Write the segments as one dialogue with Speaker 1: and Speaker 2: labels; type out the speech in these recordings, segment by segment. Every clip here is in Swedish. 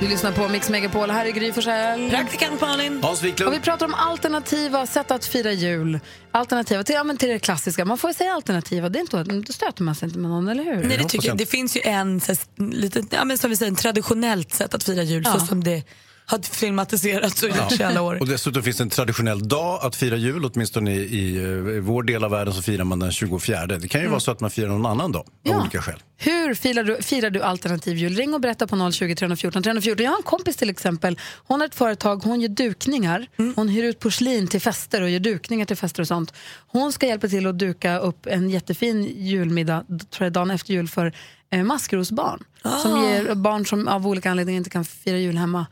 Speaker 1: Du lyssnar på Mix Megapol. Här är Gry Forssell.
Speaker 2: Praktikant Malin.
Speaker 3: Hans
Speaker 1: Och
Speaker 3: Wiklund.
Speaker 1: vi pratar om alternativa sätt att fira jul. Alternativa till, ja, men till det klassiska. Man får ju säga alternativa. Det är inte, då stöter man sig inte med någon, eller hur?
Speaker 2: Nej, det, tycker jag. det finns ju en, så här, lite, ja, men som vi säger, en traditionellt sätt att fira jul så som det har filmatiserats och gjorts i alla år.
Speaker 3: Och dessutom finns det en traditionell dag att fira jul. Åtminstone i, i, eh, vår del av världen så firar man den 24. Det
Speaker 1: Mm.
Speaker 3: kan ju vara så att man firar någon annan dag av olika skäl.
Speaker 1: Hur firar du, firar du alternativ jul? Ring och berätta på 020 314 314. Jag har en kompis till exempel. Hon har ett företag, hon gör dukningar. Hon hyr ut porslin till fester och gör dukningar till fester och sånt. Hon ska hjälpa till att duka upp en jättefin julmiddag, d- tror jag, dagen efter jul för eh, maskrosbarn. Som ger barn som av olika anledningar inte kan fira jul hemma.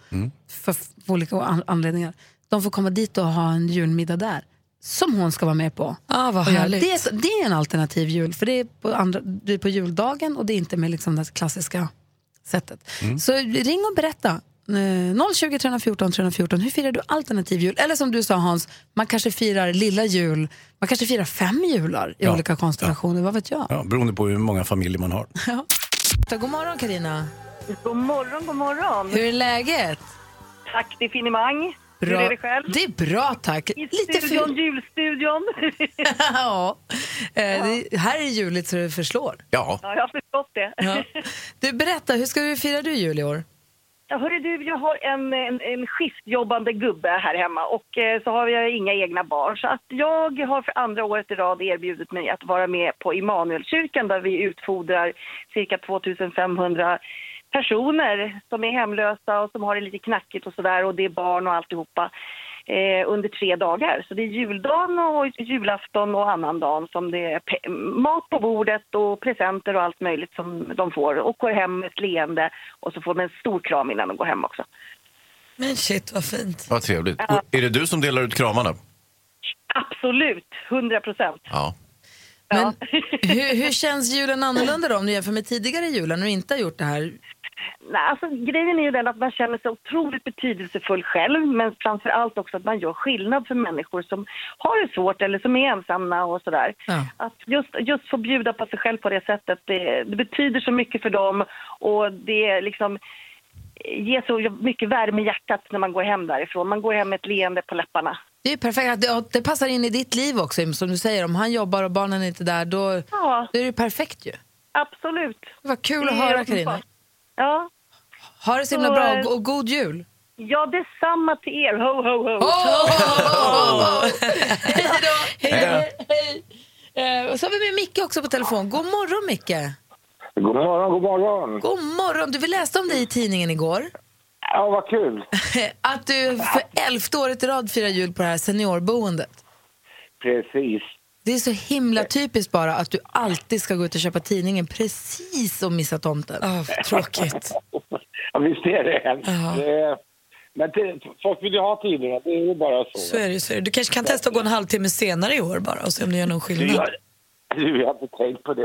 Speaker 1: För, f- för olika an- anledningar. De får komma dit och ha en julmiddag där. Som hon ska vara med på.
Speaker 2: Ah, vad
Speaker 1: Och göra.
Speaker 2: härligt.
Speaker 1: Det, är så- det är en alternativ jul, för det är på, andra, det är på juldagen och det är inte med liksom det klassiska sättet.
Speaker 2: Mm.
Speaker 1: Så ring och berätta. Eh, 020 314 314, hur firar du alternativ jul? Eller som du sa Hans, man kanske firar lilla jul, man kanske firar fem jular i
Speaker 3: Ja.
Speaker 1: olika konstellationer, vad vet jag?
Speaker 3: Ja, beroende på hur många familjer man har.
Speaker 1: God morgon Karina.
Speaker 4: God morgon, god morgon.
Speaker 1: hur är läget?
Speaker 4: Tack, det är finemang. Hur är det själv?
Speaker 1: Det är bra tack.
Speaker 4: I
Speaker 1: Lite
Speaker 4: studion,
Speaker 1: för...
Speaker 4: julstudion.
Speaker 1: ja. Eh, det, här är juligt så det förslår.
Speaker 3: Ja.
Speaker 4: ja, jag har förstått det. Ja.
Speaker 1: Du berätta, hur ska du fira du jul i år?
Speaker 4: hörru du, jag har en, en, en skiftjobbande gubbe här hemma och eh, så har jag inga egna barn. Så att jag har för andra året i rad erbjudit mig att vara med på Immanuelkyrkan där vi utfodrar cirka 2500 personer som är hemlösa och som har det lite knackigt och sådär och det är barn och alltihopa. eh, under tre dagar. Så det är juldagen och julafton och annandagen som det är pe- mat på bordet och presenter och allt möjligt som de får och går hem med ett leende och så får de en stor kram innan de går hem också.
Speaker 2: Men shit vad fint.
Speaker 5: Vad trevligt. Och är det du som delar ut kramarna?
Speaker 4: Absolut, 100 procent.
Speaker 5: Ja.
Speaker 1: Men hur, hur känns julen annorlunda då om du jämför med tidigare julen när du inte har gjort det här?
Speaker 4: Nej, alltså, grejen är ju den att man känner sig otroligt betydelsefull själv men framför allt också att man gör skillnad för människor som har det svårt eller som är ensamma och sådär.
Speaker 1: Ja.
Speaker 4: Att just, just få bjuda på sig själv på det sättet, det, det betyder så mycket för dem och det är liksom ger så mycket värme i hjärtat när man går hem därifrån. Man går hem med ett leende på läpparna.
Speaker 1: Det är ju perfekt, att det, det passar in i ditt liv också som du säger, om han jobbar och barnen är inte där då,
Speaker 4: Ja.
Speaker 1: då är det ju perfekt ju.
Speaker 4: Absolut.
Speaker 1: Vad kul att
Speaker 4: Det är
Speaker 1: höra
Speaker 4: underbart.
Speaker 1: Carina.
Speaker 4: Ja.
Speaker 1: Ha det så himla
Speaker 4: Så,
Speaker 1: bra
Speaker 4: eh,
Speaker 1: och, och god jul.
Speaker 4: ja, detsamma till er. Ho, ho, ho.
Speaker 1: Hej då! Hej. Eh, Och så har vi med Micke också på telefon. God morgon Micke!
Speaker 6: God morgon, god morgon.
Speaker 1: God morgon! Du, vi läste om dig i tidningen igår.
Speaker 6: Ja, vad kul.
Speaker 1: Att du för elfte året i rad firar jul på det här seniorboendet.
Speaker 6: Precis.
Speaker 1: Det är så himla typiskt bara att du alltid ska gå ut och köpa tidningen precis och missa tomten.
Speaker 2: Ah, vad tråkigt.
Speaker 6: Ja, visst är det hemskt.
Speaker 2: Ja.
Speaker 6: Det- Men det, folk vill ju ha tidningar, det är ju bara så.
Speaker 2: Så är det, ju, så är det. Du kanske kan testa att gå en halvtimme senare i år bara och se om det gör någon
Speaker 6: Du,
Speaker 2: skillnad.
Speaker 6: jag, du, jag har inte tänkt på det.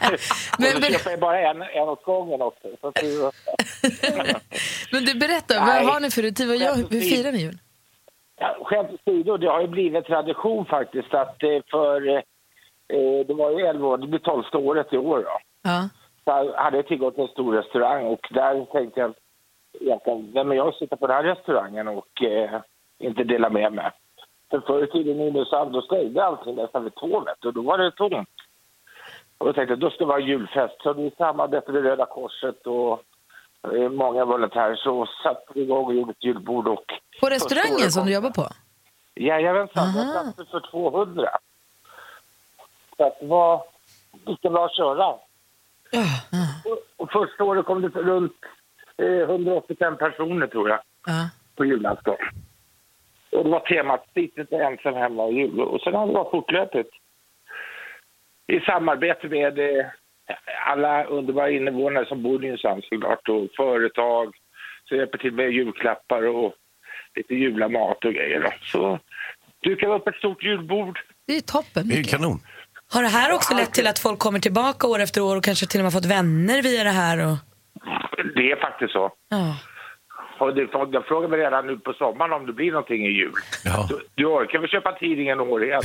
Speaker 1: Men,
Speaker 6: Men,
Speaker 1: men,
Speaker 6: köper jag bara en, en åt gången också. Så att du,
Speaker 1: men du berättar,
Speaker 6: Nej.
Speaker 1: vad har ni för rutin? Vad gör, hur firar ni jul?
Speaker 6: ja, skämt åsido, det har ju blivit en tradition faktiskt att eh, för... eh, Det var ju 11 år, det blir 12 året i år. Då.
Speaker 1: Ja.
Speaker 6: så hade jag tillgång till en stor restaurang och där tänkte jag egentligen, vem är jag att sitta på den här restaurangen och eh, inte dela med mig? För förr i tiden i Nynäshamn då stängde allting nästan vid tolvet och då var det tomt. Och då tänkte jag, då ska det vara julfest. Så vi samarbetade med Röda Korset och eh, många volontärer så satte vi igång och gjorde ett julbord och
Speaker 1: På restaurangen som du jobbar på?
Speaker 6: Jajamensan,
Speaker 1: Aha.
Speaker 6: jag satte för 200. Så att det var lika bra att köra. Och, och första året kom det runt eh, 185 personer tror jag
Speaker 1: Ja.
Speaker 6: på julafton. Och det var temat sitt inte ensam hemma och jul. Och sen har det varit fortlöpigt. I samarbete med eh, alla underbara invånare som bor i Nynäshamn såklart och företag som hjälper till med julklappar och lite julamat och grejer. Då. Så dukar vi upp ett stort julbord.
Speaker 1: Det är toppen.
Speaker 3: Det är kanon.
Speaker 2: Har det här också lett till att folk kommer tillbaka år efter år och kanske till och med fått vänner via det här? Och...
Speaker 6: Det är faktiskt så.
Speaker 2: Ja.
Speaker 6: Och du, jag frågar mig redan nu på sommaren om det blir någonting i jul. Du, du orkar väl köpa tidningen och år igen?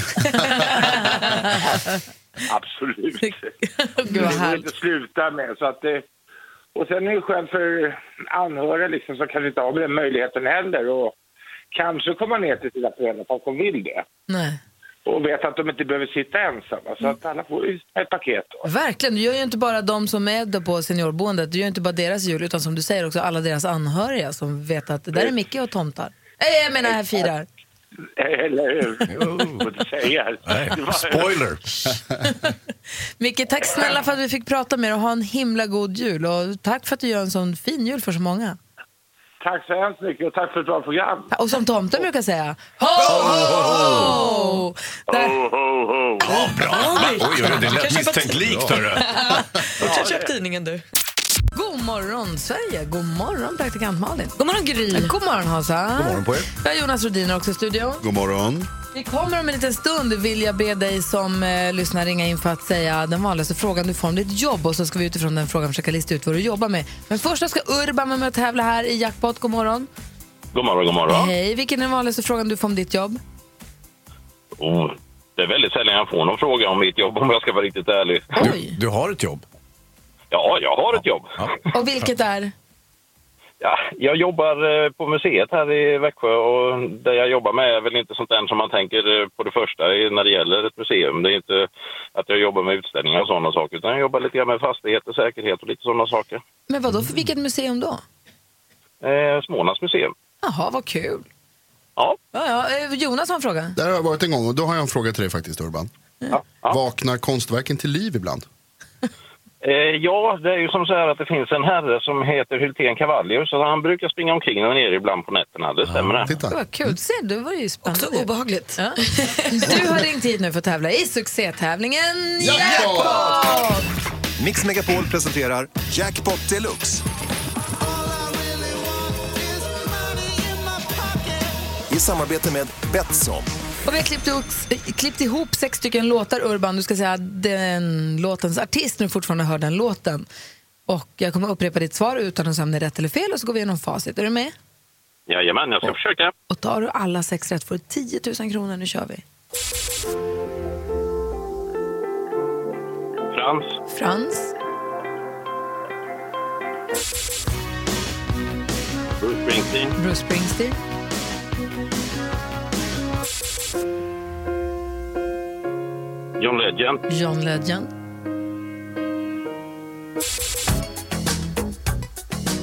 Speaker 6: Absolut. Det
Speaker 1: vad
Speaker 6: går inte att sluta med. Så att det, och sen är det skönt för anhöriga liksom, som kanske inte har den möjligheten heller. Och kanske komma ner till sina föräldrar om de vill det.
Speaker 1: Nej.
Speaker 6: Och vet att de inte behöver sitta ensamma. Så att alla får ju ett paket. Då.
Speaker 1: Verkligen, du gör ju inte bara de som är där på seniorboendet, du gör ju inte bara deras jul utan som du säger också alla deras anhöriga som vet att det där är Micke och tomtar. Nej, jag menar här firar.
Speaker 6: Eller hur? Får inte säga. Det var-
Speaker 3: Oh. Spoiler!
Speaker 1: Micke, tack snälla för att vi fick prata med dig och ha en himla god jul och tack för att du gör en sån fin jul för så många.
Speaker 6: Tack så hemskt mycket och tack för ett bra program. Oh,
Speaker 1: Och som tomten brukar säga, ho, ho, ho! Där,
Speaker 6: Ho, ho, ho.
Speaker 3: Bra! Oj, oj, oj, det lät misstänkt likt. hörru.
Speaker 2: Ja, köp tidningen du.
Speaker 1: god morgon Sverige, god morgon praktikant Malin.
Speaker 2: God morgon Gry.
Speaker 1: God morgon Hansa. God
Speaker 5: morgon på er.
Speaker 1: Vi har Jonas Rhodiner också i studion.
Speaker 7: God morgon.
Speaker 1: Vi kommer om en liten stund vilja be dig som eh, lyssnar ringa in för att säga den vanligaste frågan du får om ditt jobb och så ska vi utifrån den frågan försöka lista ut vad du jobbar med. Men först så ska Urban vara med och tävla här i Jackpot. God morgon.
Speaker 8: God morgon, god morgon.
Speaker 1: Hej, vilken är den vanligaste frågan du får om ditt jobb?
Speaker 8: Oh, det är väldigt sällan jag får någon fråga om mitt jobb om jag ska vara riktigt ärlig.
Speaker 3: Du, du har ett jobb.
Speaker 8: Ja, jag har ett jobb.
Speaker 1: Och vilket är?
Speaker 8: Ja, jag jobbar eh, på museet här i Växjö och det jag jobbar med är väl inte sånt där som man tänker eh, på det första i- när det gäller ett museum. Det är inte att jag jobbar med utställningar och sådana saker utan jag jobbar lite grann med fastigheter, säkerhet och lite sådana saker.
Speaker 1: Men vadå, för vilket museum då?
Speaker 8: Eh, Smålands museum.
Speaker 1: Jaha, vad kul.
Speaker 8: Ja.
Speaker 1: Ja, ja. eh, Jonas har en fråga.
Speaker 7: Där har jag varit en gång och då har jag en fråga till dig faktiskt Urban. Vaknar konstverken till liv ibland?
Speaker 8: Eh, ja, det är ju som så här att det finns en herre som heter Hultén Cavallius så han brukar springa omkring där nere ibland på nätterna, det stämmer det.
Speaker 1: Det var kul. Se, det var ju spännande. Också obehagligt. Ja. Du har ringt hit nu för att tävla i succétävlingen Jackpot!
Speaker 9: Mix Megapol presenterar Jackpot Deluxe. I samarbete med Betsson.
Speaker 1: Och vi har klippt, ihop- klippt ihop sex stycken låtar, Urban. Du ska säga den låtens artist när du fortfarande hör den låten. Och jag kommer upprepa ditt svar utan att säga om det är rätt eller fel och så går vi igenom facit. Är du med?
Speaker 8: Jajamän, jag ska försöka.
Speaker 1: Och tar du alla sex rätt får du 10 000 kronor. Nu kör vi.
Speaker 8: Frans,
Speaker 1: Frans,
Speaker 8: Bruce Springsteen,
Speaker 1: Bruce Springsteen,
Speaker 8: John Legend,
Speaker 1: John Legend,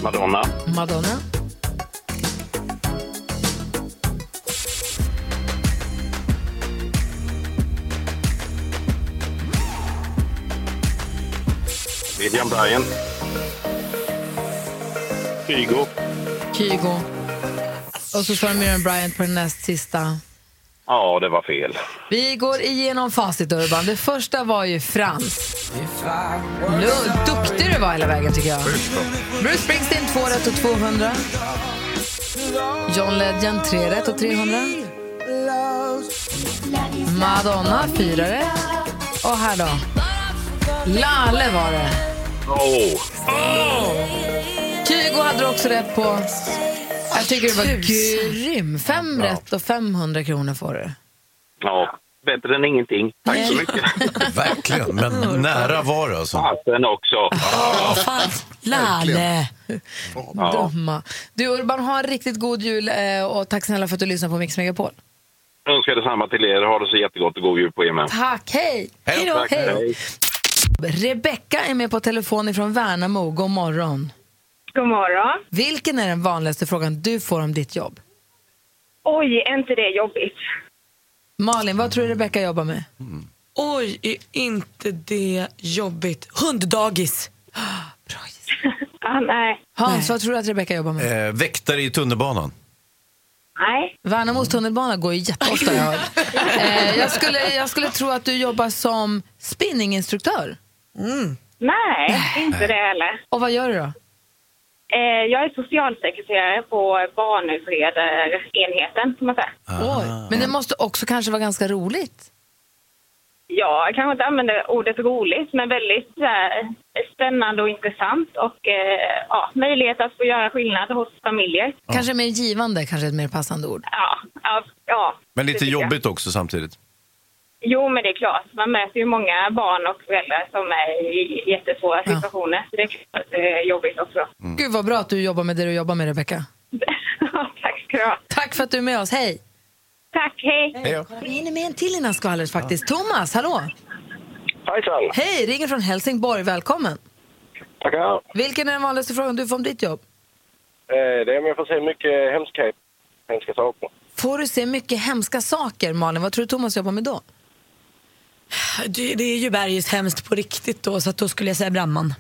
Speaker 8: Madonna,
Speaker 1: Madonna,
Speaker 8: William Bryan, Kygo,
Speaker 1: Kygo. Och så kör Miriam Bryant på den näst sista.
Speaker 8: ja det var fel.
Speaker 1: Vi går igenom facit, Urban. Det första var ju Frans. Lund, duktig du var hela vägen, tycker jag. Bruce Springsteen, 2 rätt och 200. John Legend, 3 rätt och 300. Madonna, 4 rätt. Och här då? Lalle var det.
Speaker 8: Åh,
Speaker 1: Kygo hade du också rätt på. Jag tycker det var grym. 5 rätt och 500 kronor får du.
Speaker 8: ja, bättre än ingenting. Tack så mycket.
Speaker 3: Verkligen, men nära var det alltså. Ah.
Speaker 8: Fasen också.
Speaker 1: Lalle!
Speaker 8: Ja.
Speaker 1: Dumma. Du Urban, ha en riktigt god jul eh, och tack snälla för att du lyssnar på Mix Megapol.
Speaker 8: Önskar detsamma till er. Ha det så jättegott och god jul på er med.
Speaker 1: Tack, hej!
Speaker 8: Hej då. Tack, hej.
Speaker 1: Rebecka är med på telefon ifrån Värnamo. God morgon.
Speaker 10: God morgon.
Speaker 1: Vilken är den vanligaste frågan du får om ditt jobb?
Speaker 10: Oj, är inte det jobbigt?
Speaker 1: Malin, vad tror du Rebecka jobbar med?
Speaker 2: Oj, är inte det jobbigt? Hunddagis.
Speaker 10: Ah, nej.
Speaker 1: Hans, vad tror du att Rebecka jobbar med?
Speaker 3: Eh, väktare i tunnelbanan.
Speaker 10: Nej.
Speaker 1: Värnamos tunnelbana går ju jätteofta. Jag, hör. eh, jag, skulle, jag skulle tro att du jobbar som spinninginstruktör.
Speaker 10: Nej, inte det heller.
Speaker 1: Och vad gör du då?
Speaker 10: Eh, jag är socialsekreterare på barnutredarenheten, kan man säga.
Speaker 1: Men det måste också kanske vara ganska roligt.
Speaker 10: Ja, jag kanske inte använder ordet roligt, men väldigt så här, spännande och intressant och eh, ja, möjlighet att få göra skillnad hos familjer.
Speaker 1: Kanske mer givande, kanske ett mer passande ord.
Speaker 10: Ja, ja, ja
Speaker 5: Men
Speaker 10: det
Speaker 5: lite
Speaker 10: tycker jag.
Speaker 5: jobbigt också samtidigt.
Speaker 10: Jo, men det är klart. Man möter ju många barn och föräldrar som är i jättesvåra situationer. Så det är klart att det är jobbigt också.
Speaker 1: Mm. Gud vad bra att du jobbar med det du jobbar med, Rebecka.
Speaker 10: Tack ska du ha.
Speaker 1: Tack för att du är med oss, hej!
Speaker 10: Tack, hej!
Speaker 1: hej vi hinner med en till innan skvallret faktiskt. Thomas, hallå!
Speaker 11: Hejsan!
Speaker 1: Hej, ringer från Helsingborg, välkommen!
Speaker 11: Tackar.
Speaker 1: Vilken är den vanligaste frågan du får om ditt jobb?
Speaker 11: Eh, Det är om jag får se mycket hemska, hemska saker.
Speaker 1: Får du se mycket hemska saker, Malin? Vad tror du Thomas jobbar med då?
Speaker 2: Det, det är ju bergis hemskt på riktigt då, så att då skulle jag säga Bramman.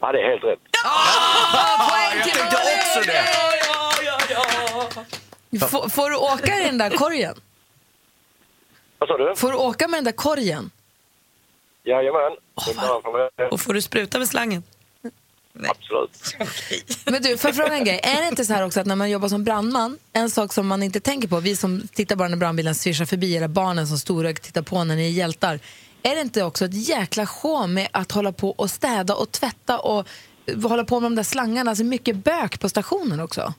Speaker 11: Ja, det är helt rätt.
Speaker 1: jag tänkte också det! Får, får du åka i den där korgen?
Speaker 11: Vad sa du?
Speaker 1: Får du åka med den där korgen?
Speaker 11: Jajamän. Det är bra för mig.
Speaker 2: Och får du spruta med slangen?
Speaker 11: Absolut.
Speaker 1: Men du, får jag fråga en grej? Är det inte så här också att när man jobbar som brandman, en sak som man inte tänker på, vi som tittar bara när brandbilen svischar förbi eller barnen som storögt tittar på när ni är hjältar, är det inte också ett jäkla sjå med att hålla på och städa och tvätta och eh, hålla på med de där slangarna, alltså mycket bök på stationen också?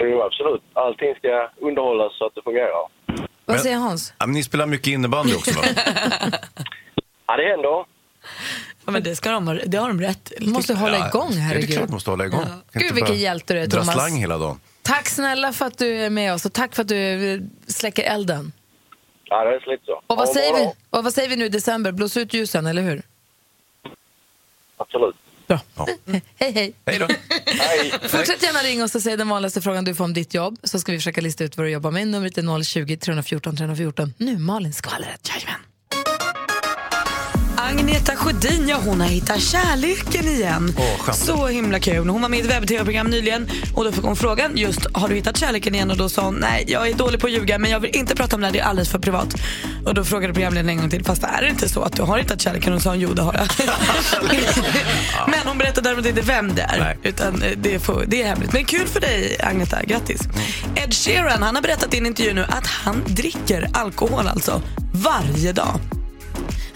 Speaker 11: Jo, absolut. Allting ska underhållas så att det fungerar.
Speaker 1: Vad säger Hans?
Speaker 5: Ja, men ni spelar mycket innebandy också va?
Speaker 11: Ja, det händer.
Speaker 2: Ja, men det, ska de, ha- det har de rätt till.
Speaker 1: Måste hålla igång,
Speaker 5: Ja, det är klart
Speaker 1: herregud.
Speaker 5: man måste hålla igång.
Speaker 1: Ja.
Speaker 5: Kan
Speaker 1: Gud,
Speaker 5: inte
Speaker 1: vilken
Speaker 5: bara
Speaker 1: hjälte du är,
Speaker 5: Dra
Speaker 1: Thomas.
Speaker 5: slang hela dagen.
Speaker 1: Tack snälla för att du är med oss och tack för att du eh, släcker elden.
Speaker 11: Ja, det är lite så.
Speaker 1: Och vad,
Speaker 11: Ja,
Speaker 1: säger
Speaker 11: bra
Speaker 1: vi,
Speaker 11: då.
Speaker 1: och vad säger vi nu i december? Blås ut ljusen, eller hur?
Speaker 11: Absolut.
Speaker 1: Bra. Hej, hej.
Speaker 5: Hej då.
Speaker 1: Fortsätt gärna ringa oss och säg den vanligaste frågan du får om ditt jobb så ska vi försöka lista ut vad du jobbar med. Numret är 020 314 314. Nu Malin skvallret. Jajamän.
Speaker 2: Agneta Sjödin, ja hon har hittat kärleken igen.
Speaker 1: skönt.
Speaker 2: så himla kul. Hon var med i ett webb-tv-program nyligen och då fick hon frågan just har du hittat kärleken igen och då sa hon nej jag är dålig på att ljuga men jag vill inte prata om det här, det är alldeles för privat. Och då frågade programledaren en gång till fast är det inte så att du har hittat kärleken och då sa hon jo det har jag. men hon berättade däremot inte vem det är utan eh, det, får, det är hemligt. Men kul för dig Agneta, grattis. Ed Sheeran han har berättat i en intervju nu att han dricker alkohol alltså varje dag.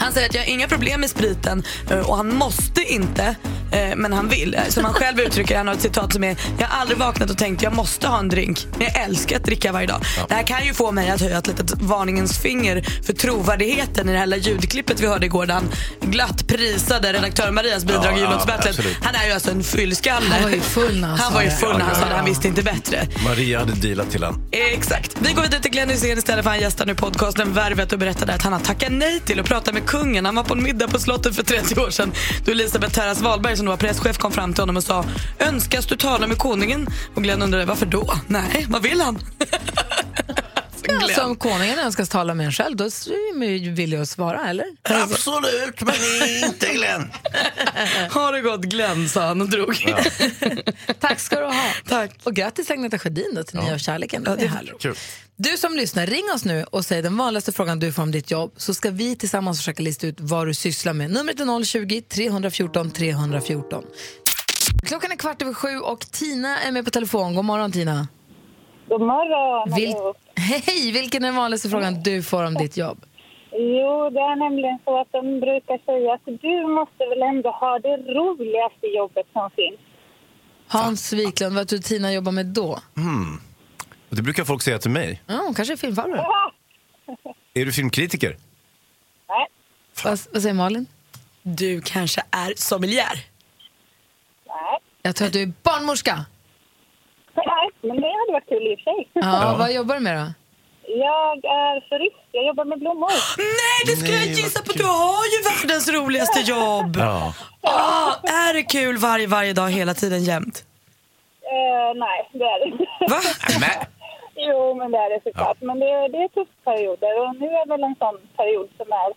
Speaker 2: Han säger att jag har inga problem med spriten eh, och han måste inte, eh, men han vill. Eh, Som han själv uttrycker han har ett citat som är “Jag har aldrig vaknat och tänkt jag måste ha en drink, men jag älskar att dricka varje dag”. Det här kan ju få mig att höja ett litet varningens finger för trovärdigheten i det här lilla ljudklippet vi hörde igår där han glatt prisade redaktör Marias bidrag i
Speaker 5: Ja,
Speaker 2: Jullåtsbattlet.
Speaker 5: absolut.
Speaker 2: Han är ju alltså en fyllskalle.
Speaker 1: Han var ju full när han
Speaker 2: Han
Speaker 1: sa
Speaker 2: var ju
Speaker 1: det.
Speaker 2: full när han
Speaker 5: Ja,
Speaker 2: sa
Speaker 5: ja,
Speaker 2: det. Han visste inte bättre.
Speaker 5: Maria hade dealat till han.
Speaker 2: Exakt. Vi går vidare till Glenn Hysén istället för han gästar nu podcasten Värvet och berättade att han har tackat nej till att prata med kungen. Han var på en middag på slottet för 30 år sedan då Elisabeth Terras Wahlberg som då var presschef kom fram till honom och sa önskas du tala med konungen? Och Glenn undrade varför då? Nej, vad vill han?
Speaker 1: Ja, så om konungen önskas tala med en själv, då är man ju villig att svara, eller?
Speaker 5: Absolut, men inte Glenn.
Speaker 2: har det gått Glenn, sa han och drog.
Speaker 1: Tack ska du ha. Tack. Och grattis Agneta Sjödin då, till Nya kärleken. det är härligt.
Speaker 5: Kul.
Speaker 1: Du som lyssnar, ring oss nu och säg den vanligaste frågan du får om ditt jobb så ska vi tillsammans försöka lista ut vad du sysslar med. Numret är 020-314 314. Klockan är kvart över sju och Tina är med på telefon. God morgon Tina.
Speaker 12: God morgon!
Speaker 1: Vil- Hej! Vilken är den vanligaste frågan du får om ditt jobb?
Speaker 12: Jo, det är nämligen så att de brukar säga att du måste väl ändå ha det roligaste jobbet som finns.
Speaker 1: Hans Wiklund, vad tror du Tina jobbar med då?
Speaker 5: Hmm. Och Det brukar folk säga till mig.
Speaker 1: Ja, hon kanske är filmfarbror.
Speaker 5: Är du filmkritiker?
Speaker 1: Vad, vad säger Malin?
Speaker 2: Du kanske är sommelier?
Speaker 1: Jag tror att du är barnmorska.
Speaker 12: Nej, men det hade varit kul i och för sig.
Speaker 1: Ja, Vad jobbar du med då?
Speaker 12: Jag är florist. Jag jobbar med blommor.
Speaker 2: Nej, det skulle jag gissa på. Du har ju världens roligaste jobb.
Speaker 5: Ja.
Speaker 2: Ah, är det kul varje, varje dag, hela tiden, jämt?
Speaker 12: Eh, nej, det är det inte.
Speaker 2: Va?
Speaker 12: jo, men det är det såklart. Men det, det är tuffa perioder och nu är väl en sån period som är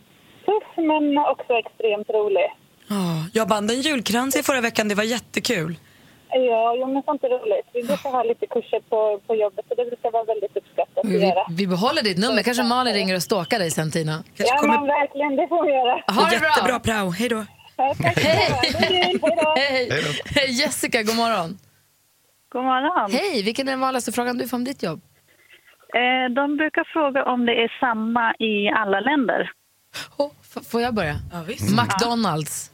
Speaker 12: tuff men också extremt rolig.
Speaker 2: Ja, jag band en julkrans i förra veckan. Det var jättekul.
Speaker 12: Ja, jo, men sånt är roligt. Vi brukar ha lite kurser på, på jobbet och det brukar vara väldigt uppskattat att
Speaker 1: Vi,
Speaker 12: göra.
Speaker 1: vi behåller ditt nummer. Kanske Malin ringer och stalkar dig sen, Tina.
Speaker 12: Ja, men verkligen, det får vi göra.
Speaker 1: Ha det bra.
Speaker 2: Jättebra prao. Hej då.
Speaker 12: tack Hej!
Speaker 1: Hej. Hej, Jessica, god morgon.
Speaker 13: God morgon.
Speaker 1: Hej, vilken är den vanligaste frågan du får om ditt jobb?
Speaker 13: Eh, De brukar fråga om det är samma i alla länder.
Speaker 1: Oh, får jag börja?
Speaker 2: Ja,
Speaker 1: McDonalds.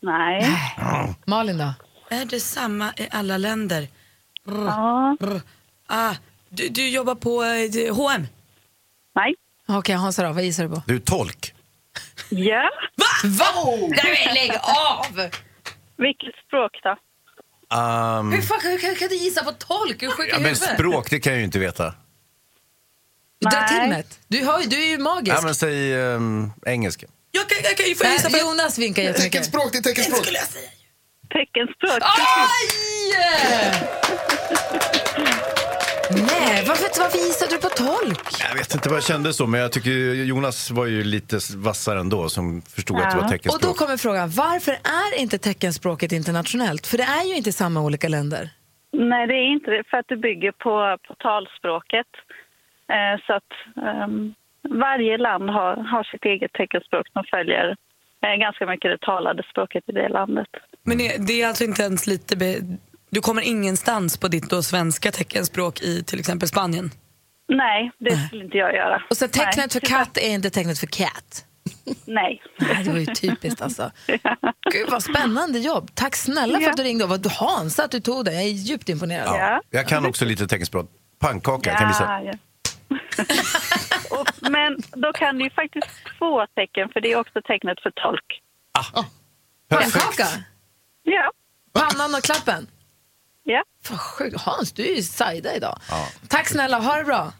Speaker 13: Nej.
Speaker 1: Malin då?
Speaker 2: Är det samma i alla länder? Brr,
Speaker 13: ja.
Speaker 2: brr. Ah, du, du jobbar på eh, H&M
Speaker 13: Nej.
Speaker 1: Okej, Hansa då, vad gissar du på?
Speaker 3: Du är tolk.
Speaker 13: Ja.
Speaker 2: Va?
Speaker 1: Va?
Speaker 2: Nej, men lägg av!
Speaker 13: Vilket språk då?
Speaker 5: Um,
Speaker 1: Hur, fan, hur, kan- hur kan du gissa på tolk? Är du sjuk i
Speaker 5: ja, men
Speaker 1: huvudet?
Speaker 5: språk, det kan jag ju inte veta.
Speaker 1: Dra till med ett. Du, hör, ju- du är ju magisk.
Speaker 5: Ja, men säg ehm, engelska.
Speaker 2: Jag kan, jag kan ju få
Speaker 1: Nej,
Speaker 2: gissa på...
Speaker 1: Jonas vinkar jättemycket. Teckenspråk,
Speaker 7: det är teckenspråk.
Speaker 2: skulle jag säga.
Speaker 13: Teckenspråk.
Speaker 1: Nej, varför, varför gissade du på tolk?
Speaker 5: Jag vet inte vad jag kände så, men jag tycker ju Jonas var ju lite vassare ändå som förstod att det var
Speaker 1: Och då
Speaker 5: teckenspråk.
Speaker 1: kommer frågan, varför är inte teckenspråket internationellt? För det är ju inte samma olika länder.
Speaker 13: Nej, det är inte det, för att det bygger på, på talspråket. Eh, så att ehm, varje land har, har sitt eget teckenspråk som följer eh, ganska mycket det talade språket i det landet.
Speaker 2: Men det, det är alltså inte ens lite... Be... Du kommer ingenstans på ditt då svenska teckenspråk i till exempel Spanien?
Speaker 13: Nej, det skulle inte jag göra.
Speaker 1: Och så tecknet för katt är inte tecknet för cat.
Speaker 13: Nej.
Speaker 1: Nej, det var ju typiskt alltså. Gud vad spännande jobb. Tack snälla för att du ringde och vad du Hansa att du tog det. Jag är djupt imponerad.
Speaker 13: Ja.
Speaker 5: Jag kan också lite teckenspråk. Pannkaka, kan vi säga.
Speaker 13: Ah, ja. Och, men då kan du ju faktiskt få tecken, för det är också tecknet för tolk.
Speaker 1: Pannkaka,
Speaker 13: Ja.
Speaker 1: pannan och klappen.
Speaker 13: Ja.
Speaker 1: Vad sjukt. Hans, du är ju sajda idag. Tack snälla, ha det bra.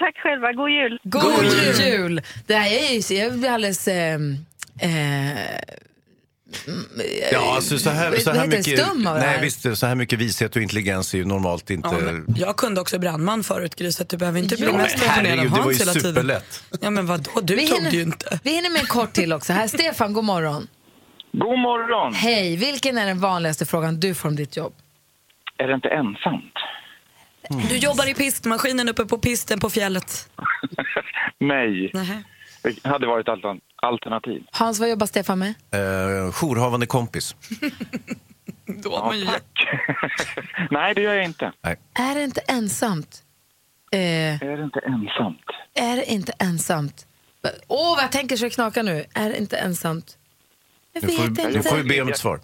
Speaker 13: Tack själva, god jul!
Speaker 1: God, jul. Det här är ju, jag blir alldeles... ehm, eh,
Speaker 5: Ja, alltså, så här, så
Speaker 1: Vad
Speaker 5: här
Speaker 1: heter det?
Speaker 5: mycket,
Speaker 1: Stum av det
Speaker 5: nej,
Speaker 1: här.
Speaker 5: visst, så här mycket vishet och intelligens är ju normalt inte...
Speaker 2: Ja, men jag kunde också brandman förut, Gry, så att du behöver inte bli
Speaker 5: Ja, men
Speaker 2: mest imponerad av
Speaker 5: herregud, det var
Speaker 2: Hans
Speaker 5: ju
Speaker 2: hela tiden.
Speaker 5: superlätt.
Speaker 2: Ja, men vadå? Du
Speaker 1: Vi
Speaker 2: tog
Speaker 1: hinner-
Speaker 2: det ju inte.
Speaker 1: Vi hinner med en kort till också. Här, Stefan, god morgon.
Speaker 14: God morgon!
Speaker 1: Hej, vilken är den vanligaste frågan du får om ditt jobb?
Speaker 14: Är det inte ensamt?
Speaker 2: Du jobbar i pistmaskinen uppe på pisten på fjället.
Speaker 14: Nej. Det hade varit altern- alternativ.
Speaker 1: Hans, vad jobbar Stefan med?
Speaker 5: Eh, jourhavande kompis.
Speaker 2: Då ja,
Speaker 14: tack. Nej, det gör jag inte.
Speaker 1: Är det inte ensamt? Eh,
Speaker 14: Är det inte ensamt?
Speaker 1: är det inte ensamt? Va- Åh, vad jag tänker så det knakar nu. Är det inte ensamt? Jag
Speaker 5: Nu får,
Speaker 1: vet
Speaker 5: vi- nu får vi
Speaker 1: inte.
Speaker 5: be om ett svar.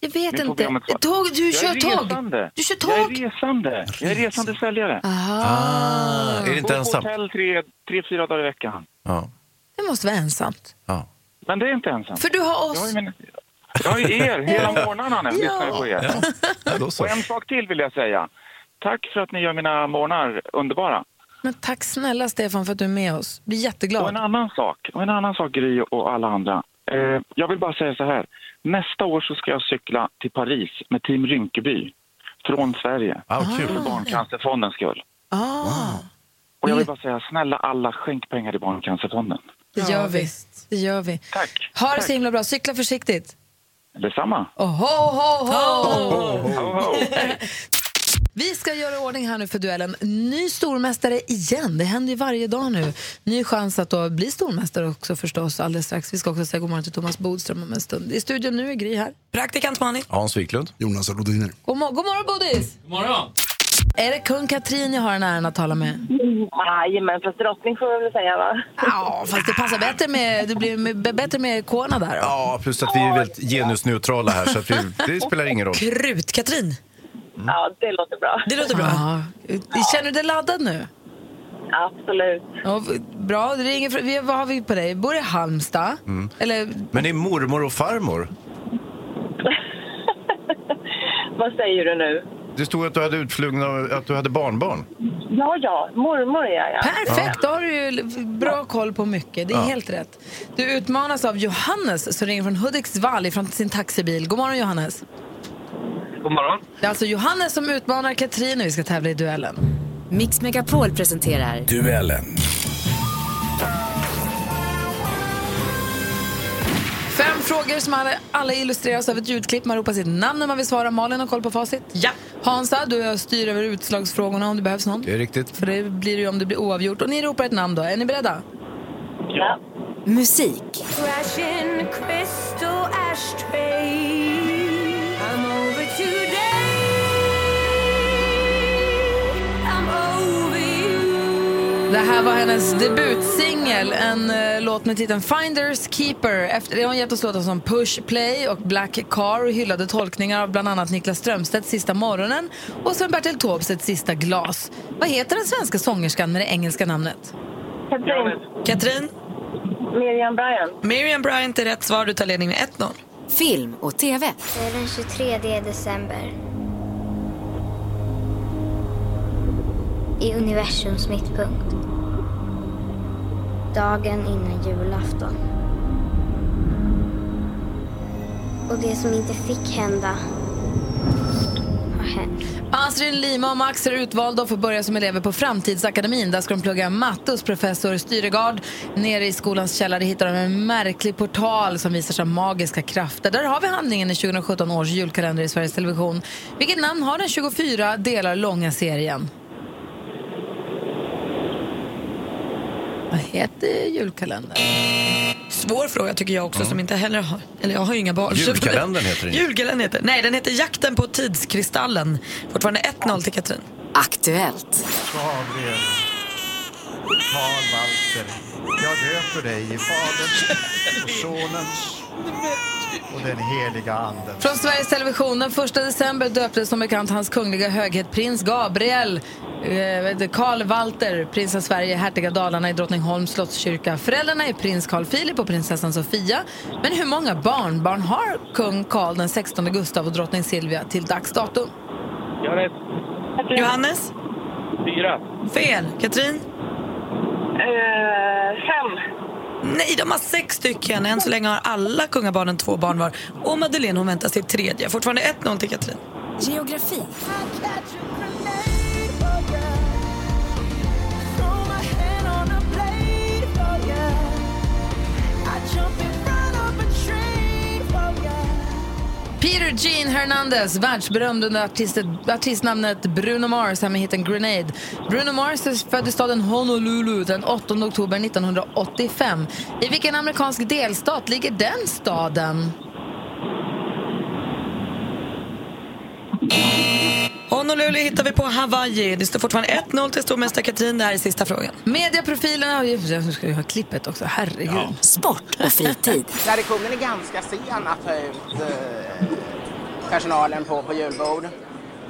Speaker 1: Jag vet
Speaker 14: Ni får
Speaker 1: inte.
Speaker 14: be om ett svar.
Speaker 1: Tåg, du
Speaker 14: jag
Speaker 1: kör
Speaker 14: är
Speaker 1: tåg.
Speaker 14: resande.
Speaker 1: Du kör
Speaker 14: Jag
Speaker 1: tåg.
Speaker 14: är resande. Jag är resande säljare.
Speaker 1: Ah.
Speaker 5: Är det inte
Speaker 14: Bor på
Speaker 5: ensamt?
Speaker 14: hotell tre, tre, fyra dagar i veckan.
Speaker 5: Ja.
Speaker 1: Det måste vara ensamt.
Speaker 14: Men det är inte ensamt.
Speaker 1: För du har oss.
Speaker 14: Jag är, min... jag är er hela morgnarna nu.
Speaker 1: Ja.
Speaker 14: Lyssnar jag på er. Och en sak till vill jag säga. Tack för att ni gör mina morgnar underbara.
Speaker 1: Men tack snälla Stefan för att du är med oss. Blir jätteglad.
Speaker 14: Och en annan sak, och en annan sak Gry och alla andra. Eh, jag vill bara säga så här. Nästa år så ska jag cykla till Paris med Team Rynkeby från Sverige.
Speaker 5: Ah,
Speaker 1: kul.
Speaker 14: För Barncancerfondens skull.
Speaker 1: Ah,
Speaker 14: Och jag vill bara säga, snälla alla skänk pengar till Barncancerfonden.
Speaker 1: det gör vi. Det gör vi. Tack. Ha det så himla bra. Cykla försiktigt.
Speaker 14: Detsamma.
Speaker 1: Oh, ho, ho, ho.
Speaker 14: ho.
Speaker 1: Vi ska göra i ordning här nu för duellen. Ny stormästare igen. Det händer ju varje dag nu. Ny chans att då bli stormästare också förstås alldeles strax. Vi ska också säga god morgon till Thomas Bodström om en stund. I studion nu är Gry här.
Speaker 2: Praktikant Malin.
Speaker 5: Hans Wiklund.
Speaker 7: Jonas Rodiner.
Speaker 1: God, mo- god morgon Bodis!
Speaker 15: God morgon!
Speaker 1: Är det kung Katrin jag har den äran att tala med?
Speaker 16: Jajamän, fast drottning får vi väl säga va?
Speaker 1: Ja, fast det passar bättre med, det blir med, bättre med korna där. då.
Speaker 5: Ja, plus att vi är väldigt genusneutrala här, så att vi, det spelar ingen roll.
Speaker 1: Krut-Katrin.
Speaker 16: Mm. Ja, det låter bra.
Speaker 2: Det låter bra.
Speaker 1: Känner du dig laddad nu?
Speaker 16: Absolut.
Speaker 1: Ja, v- bra, det ringer, fr- vi- vad har vi på dig? Bor i Halmstad?
Speaker 5: Mm.
Speaker 1: Eller
Speaker 5: Men det är mormor och farmor.
Speaker 16: Vad säger du nu?
Speaker 5: Det stod att du hade utflugna, att du hade barnbarn.
Speaker 16: Ja, ja, mormor är jag ja.
Speaker 1: Perfekt, då har du ju l- bra koll på mycket. Det är
Speaker 5: Ja.
Speaker 1: helt rätt. Du utmanas av Johannes som ringer från Hudiksvall ifrån sin taxibil. God morgon Johannes.
Speaker 15: God morgon.
Speaker 1: Det är alltså Johannes som utmanar Katrin när vi ska tävla i duellen.
Speaker 17: Mix Megapol presenterar...
Speaker 18: Duellen.
Speaker 1: 5 frågor som alla, alla illustreras av ett ljudklipp. Man ropar sitt namn när man vill svara. Malin har koll på facit. Ja. Hansa, du styr över utslagsfrågorna om det behövs någon.
Speaker 5: Det är riktigt.
Speaker 1: För det blir det ju om det blir oavgjort. Och ni ropar ett namn då. Är ni beredda?
Speaker 16: Ja.
Speaker 17: Musik.
Speaker 19: Crashing crystal ashtray. I'm over today. I'm over you.
Speaker 1: Det här var hennes debutsingel, en eh, låt med titeln Finders Keeper. Efter det har hon gett oss låtar som Push Play och Black Car och hyllade tolkningar av bland annat Niklas Strömstedts Sista morgonen och Sven-Bertil Taubes Sista glas. Vad heter den svenska sångerskan med det engelska namnet?
Speaker 10: Katrin.
Speaker 2: Katrin?
Speaker 10: Miriam Bryant.
Speaker 2: Miriam Bryant är rätt svar. Du tar ledning med 1-0.
Speaker 17: Film och TV.
Speaker 18: Den 23 december. I universums mittpunkt. Dagen innan julafton. Och det som inte fick hända har hänt.
Speaker 1: Astrid Lima och Max är utvalda och får börja som elever på Framtidsakademin. Där ska de plugga matte hos professor Styregard. Nere i skolans källare hittar de en märklig portal som visar sig ha magiska krafter. Där har vi handlingen i 2017 års julkalender i Sveriges Television. Vilket namn har den 24 delar långa serien? Vad heter julkalendern?
Speaker 2: Svår fråga tycker jag också som inte heller har, eller jag har ju inga barn. så-
Speaker 5: Julkalendern heter den ju.
Speaker 2: Julkalendern heter Nej, den heter Jakten på tidskristallen. Fortfarande 1-0 till Katrin.
Speaker 17: Aktuellt.
Speaker 20: Gabriel. Karl Walter. Jag döper dig i Faderns och Sonens och den heliga Anden.
Speaker 1: Från Sveriges Television. Den 1 december döptes som bekant hans kungliga höghet prins Gabriel eh, vad heter det, Karl Walter, prins av Sverige, hertig av Dalarna i Drottningholms slottskyrka. Föräldrarna är prins Carl Philip och prinsessan Sofia. Men hur många barnbarn har kung Carl den 16 Gustav och drottning Silvia till dags datum?
Speaker 15: Jag har rätt.
Speaker 2: Johannes?
Speaker 15: Fyra.
Speaker 2: Fel. Katrin?
Speaker 10: fem.
Speaker 2: Nej, de har sex stycken. Än så länge har alla kungabarnen två barn var. Och Madeleine hon väntar sitt tredje. Fortfarande 1-0 till Katrin.
Speaker 17: Geografi.
Speaker 1: Peter Jean Hernandez, världsberömd under artistet, artistnamnet Bruno Mars, här med hiten Grenade. Bruno Mars är född i staden Honolulu den 8 oktober 1985. I vilken amerikansk delstat ligger den staden?
Speaker 2: Honolulu hittar vi på Hawaii. Det står fortfarande 1-0 till stormästare Katrin. Det här är sista frågan.
Speaker 1: Mediaprofilerna... Jag ska ju ha klippet också, herregud.
Speaker 17: Sport och fritid.
Speaker 21: Traditionen är ganska sen att ta ut eh, personalen på, på julbord.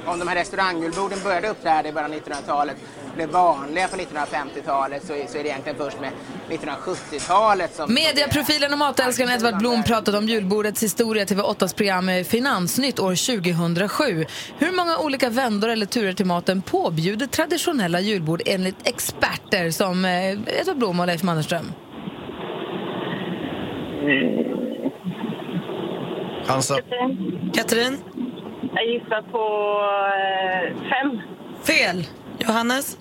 Speaker 21: Om de här restaurangjulborden började uppträda i början av 1900-talet blev vanliga på 1950-talet så, är- så är det egentligen först med 1970-talet som...
Speaker 1: Mediaprofilen och matälskaren Edvard Blom pratade om julbordets historia till TV8s program eh, Finansnytt år 2007. Hur många olika vändor eller turer till maten påbjuder traditionella julbord enligt experter som eh, Edvard Blom och Leif Mannerström?
Speaker 5: Hansa.
Speaker 2: Katrin?
Speaker 10: Jag gissar på eh, fem.
Speaker 2: Fel. Johannes?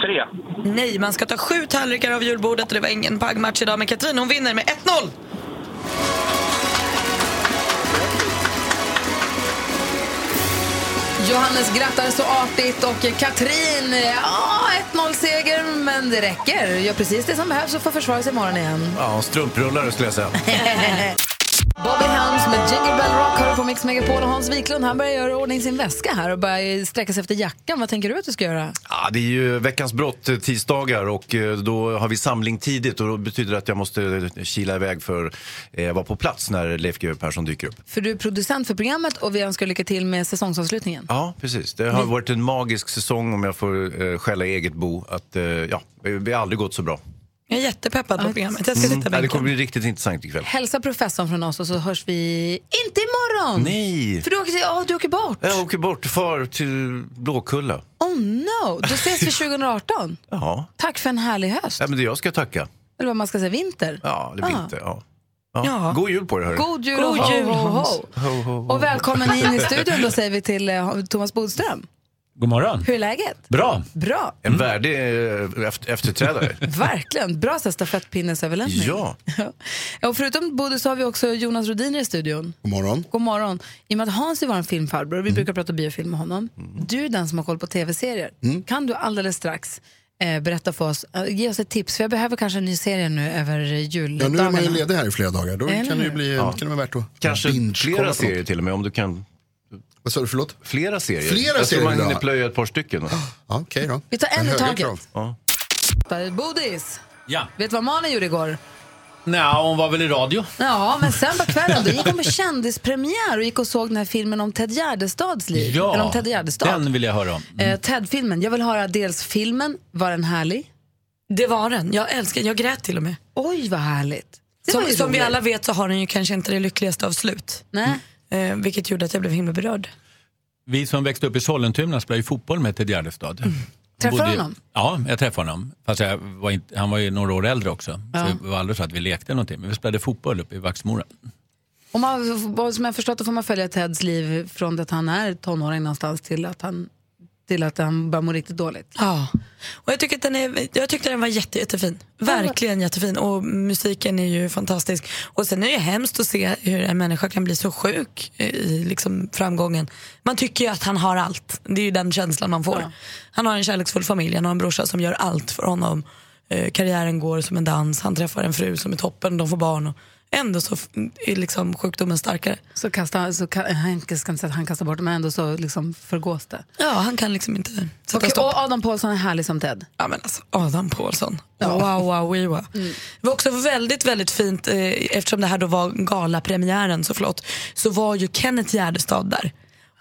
Speaker 15: Tre.
Speaker 2: Nej, man ska ta sju tallrikar av julbordet och det var ingen baggmatch idag. Men Katrin hon vinner med 1-0.
Speaker 1: Johannes grattar så artigt och Katrin, eh, ja, 1-0-seger, men det räcker. Gör precis det som behövs och får försvara sig imorgon igen.
Speaker 3: Ja, strumprullare skulle jag säga.
Speaker 22: Uh,
Speaker 1: Bobby Helms med Jingle Bell Rock hör du på Mix Megapol och Hans Wiklund han börjar göra i ordning sin väska här och börjar sträcka sig efter jackan. Vad tänker du att du ska göra?
Speaker 5: Ja, det är ju veckans brott eh, tisdagar och eh, då har vi samling tidigt och då betyder det att jag måste eh, kila iväg för eh, vara på plats när Leif GW Persson dyker upp.
Speaker 1: För du är producent för programmet och vi önskar lycka till med säsongsavslutningen.
Speaker 5: Ja, precis. Det har varit en magisk säsong om jag får eh, skälla i eget bo. Att, eh, ja, det har aldrig gått så bra.
Speaker 2: Jag är jättepeppad på programmet. Jag ska
Speaker 5: Mm.
Speaker 2: sitta
Speaker 5: Ja,
Speaker 2: bänken.
Speaker 5: det kommer bli riktigt intressant ikväll.
Speaker 1: Hälsa professorn från oss och så hörs vi inte imorgon.
Speaker 5: Nej.
Speaker 1: För du åker, till, ja, du åker bort.
Speaker 5: Jag åker bort, far till Blåkulla.
Speaker 1: Oh no, då ses vi 2018.
Speaker 5: Ja,
Speaker 1: Tack för en härlig höst.
Speaker 5: ja men det är jag ska tacka.
Speaker 1: Eller vad man ska säga, vinter. Ah.
Speaker 5: Ja, det blir inte. Ja.
Speaker 1: Ja.
Speaker 5: Ja. God jul på er, hörru.
Speaker 1: God jul och ho, ho, ho.
Speaker 5: Ho, ho, ho.
Speaker 1: Och välkommen in i studion då säger vi till eh, Thomas Bodström.
Speaker 23: God morgon.
Speaker 1: Hur är läget?
Speaker 23: Bra.
Speaker 1: Bra.
Speaker 5: En värdig eh, efter- efterträdare.
Speaker 1: Verkligen. Bra så här stafettpinnesöverlämning.
Speaker 5: Ja.
Speaker 1: Och förutom Bodil så har vi också Jonas Rodiner i studion.
Speaker 7: God morgon. Mm.
Speaker 1: God morgon. I och med att Hans är vår
Speaker 7: Mm.
Speaker 1: filmfarbror, vi brukar prata biofilm med honom. Du är den som har koll på tv-serier. Kan du alldeles strax eh, berätta för oss. Eh, Ge oss ett tips, för jag behöver kanske en ny serie nu över
Speaker 7: Ja,
Speaker 1: juldagarna.
Speaker 7: nu är man ju ledig här i flera dagar. Då
Speaker 1: Eller
Speaker 7: kan det ju
Speaker 1: hur?
Speaker 7: bli,
Speaker 1: Ja.
Speaker 7: kan det vara värt att
Speaker 5: Kanske
Speaker 7: binge-kolla på
Speaker 5: flera
Speaker 7: något.
Speaker 5: serier till och med om du kan.
Speaker 7: Vad sa du, förlåt?
Speaker 5: Flera serier.
Speaker 7: Flera
Speaker 5: jag
Speaker 7: serier
Speaker 5: tror man
Speaker 7: då.
Speaker 5: hinner plöja ett par stycken.
Speaker 7: Okej då.
Speaker 1: Vi tar en i
Speaker 5: Höga
Speaker 1: taget.
Speaker 5: krav. Ja.
Speaker 1: Bodis,
Speaker 24: Ja.
Speaker 1: vet du vad Malin gjorde igår?
Speaker 24: Nej, hon var väl i radio.
Speaker 1: Ja, men sen på kvällen då gick hon på kändispremiär och gick och såg den här filmen om Ted Gärdestads liv. Eller om Ted Gärdestad.
Speaker 24: den vill jag höra om.
Speaker 1: Eh, Ted-filmen. Jag vill höra dels filmen, var den härlig?
Speaker 2: Det var den. Jag älskar den. Jag grät till och med.
Speaker 1: Oj, vad härligt. Det var
Speaker 2: Som,
Speaker 1: ju
Speaker 2: som vi
Speaker 1: roligt.
Speaker 2: alla vet så har den ju kanske inte det lyckligaste av slut.
Speaker 1: Nej.
Speaker 2: Eh, vilket gjorde att jag blev himla berörd.
Speaker 24: Vi som växte upp i Sollentuna spelade ju fotboll med Ted Gärdestad.
Speaker 1: Mm.
Speaker 2: Träffade
Speaker 24: Bodde-
Speaker 2: honom?
Speaker 24: Ja, jag träffade honom. Fast jag var inte, han var ju några år äldre också.
Speaker 1: Ja.
Speaker 24: Så det var aldrig så att vi lekte någonting. Men vi spelade fotboll uppe i Vaxmora.
Speaker 1: Om man, vad som jag förstått då får man följa Teds liv från det att han är tonåring någonstans till att han, till att han börjar må riktigt dåligt.
Speaker 2: Ja. Och jag, tycker att den är, jag tyckte den var jätte, jättefin. Verkligen jättefin. Och musiken är ju fantastisk. Och sen är det ju hemskt att se hur en människa kan bli så sjuk i liksom framgången. Man tycker ju att han har allt. Det är ju den känslan man får. Han har en kärleksfull familj, han har en brorsa som gör allt för honom. Eh, karriären går som en dans, han träffar en fru som är toppen, de får barn. Och ändå så f- är liksom sjukdomen starkare.
Speaker 1: Så kastar han, så ka- han ska inte säga att han kastar bort det, men ändå så liksom förgås det.
Speaker 2: Ja, han kan liksom inte sätta
Speaker 1: Okej,
Speaker 2: stopp.
Speaker 1: och Adam Pålsson är härlig som Ted.
Speaker 2: Ja men alltså Adam Pålsson. Wow, wow, wee, wow.
Speaker 1: Mm.
Speaker 2: Det var också väldigt, väldigt fint eh, eftersom det här då var galapremiären så flott. Så var ju Kenneth Gärdestad där.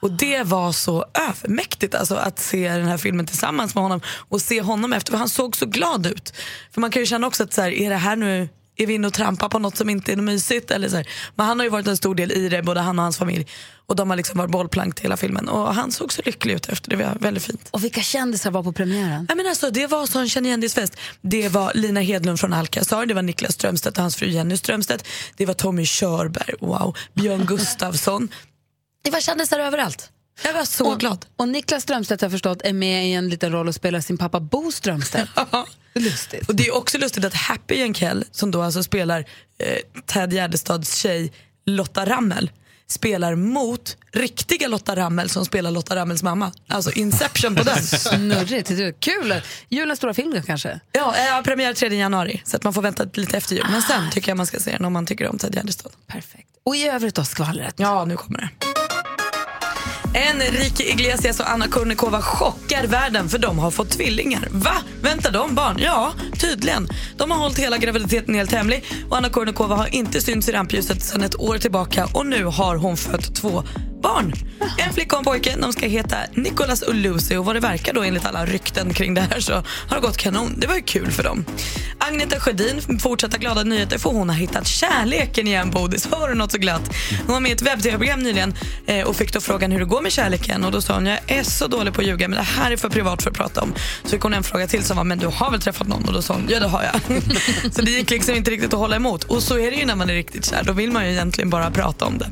Speaker 2: Och
Speaker 1: Ah.
Speaker 2: det var så övermäktigt alltså, att se den här filmen tillsammans med honom och se honom efter, för han såg så glad ut. För man kan ju känna också att så här, är det här nu är vi inne och trampar på något som inte är något mysigt? Eller så här. Men han har ju varit en stor del i det, både han och hans familj. Och de har liksom varit bollplank till hela filmen. Och han såg så lycklig ut efter det, det var väldigt fint.
Speaker 1: Och vilka kändisar var på premiären?
Speaker 2: Ja, men alltså, det var sån känn-igen-dis-fest. Det var Lina Hedlund från Alcazar, det var Niklas Strömstedt och hans fru Jenny Strömstedt. Det var Tommy Körberg, wow. Björn Gustafsson. Det var kändisar överallt. Jag var så
Speaker 1: och,
Speaker 2: glad.
Speaker 1: Och Niklas Strömstedt har jag förstått är med i en liten roll och spelar sin pappa Bo Strömstedt.
Speaker 2: Och det är också lustigt att Happy Jankell, som då alltså spelar eh, Ted Gärdestads tjej Lotta Rammel, spelar mot riktiga Lotta Rammel som spelar Lotta Rammels mamma. Alltså Inception på den.
Speaker 1: Snurrigt. det är Kul! Julens stora film då kanske?
Speaker 2: Ja, jag har premiär 3 januari så att man får vänta lite efter jul. Men sen tycker jag man ska se den om man tycker om Ted Gärdestad.
Speaker 1: Perfekt. Och i övrigt då, skvallret?
Speaker 2: Ja, nu kommer det. Enrique Iglesias och Anna Kournikova chockar världen för de har fått tvillingar. Va? Väntar de barn? Ja, tydligen. De har hållit hela graviditeten helt hemlig och Anna Kournikova har inte synts i rampljuset sedan ett år tillbaka och nu har hon fött två barn. En flicka och en pojke. De ska heta Nicholas och Lucy och vad det verkar då enligt alla rykten kring det här så har det gått kanon. Det var ju kul för dem. Agneta Sjödin, fortsatta glada nyheter för hon har hittat kärleken igen Bodis. Hör du något så glatt? Hon var med i ett webb-tv-program nyligen eh, och fick då frågan hur det går med kärleken och då sa hon jag är så dålig på att ljuga men det här är för privat för att prata om. Så fick hon en fråga till som var men du har väl träffat någon och då sa hon ja det har jag. så det gick liksom inte riktigt att hålla emot och så är det ju när man är riktigt kär då vill man ju egentligen bara prata om det.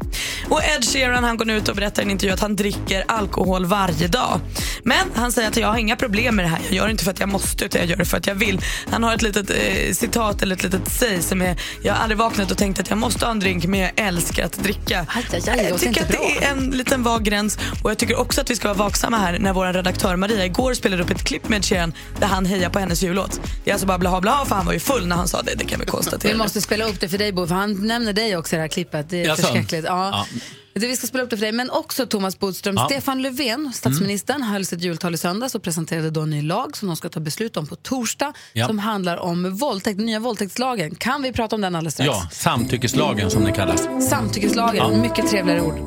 Speaker 2: Och Ed Sheeran han går nu ut och berättar i en intervju att han dricker alkohol varje dag. Men han säger att jag har inga problem med det här. Jag gör det inte för att jag måste utan jag gör det för att jag vill. Han har ett litet eh, citat eller ett litet säg som är jag har aldrig vaknat och tänkt att jag måste ha en drink men jag älskar att dricka. jag
Speaker 1: låter
Speaker 2: tycker att
Speaker 1: inte bra.
Speaker 2: det är en liten vag gräns och jag tycker också att vi ska vara vaksamma här när vår redaktör Maria igår spelade upp ett klipp med Sheeran där han hejar på hennes jullåt. Det är alltså bara blaha blaha för han var ju full när han sa det. Det kan vi konstatera.
Speaker 1: Vi måste spela upp det för dig Bo, för han nämner dig också i det här klippet. Det är
Speaker 2: Jaså?
Speaker 1: förskräckligt. Ja.
Speaker 2: Ja.
Speaker 1: Det vi ska spela upp det för dig, men också Thomas Bodström.
Speaker 2: Ja. Mm.
Speaker 1: Stefan Löfven, statsministern, höll sitt jultal i söndags och presenterade då en ny lag som de ska ta beslut om på torsdag
Speaker 24: Ja.
Speaker 1: som handlar om våldtäkt, den nya våldtäktslagen. Kan vi prata om den alldeles strax?
Speaker 24: Ja, samtyckeslagen som den kallas.
Speaker 1: Alltså, Samtyckeslagen,
Speaker 24: Ja.
Speaker 1: mycket trevligare ord.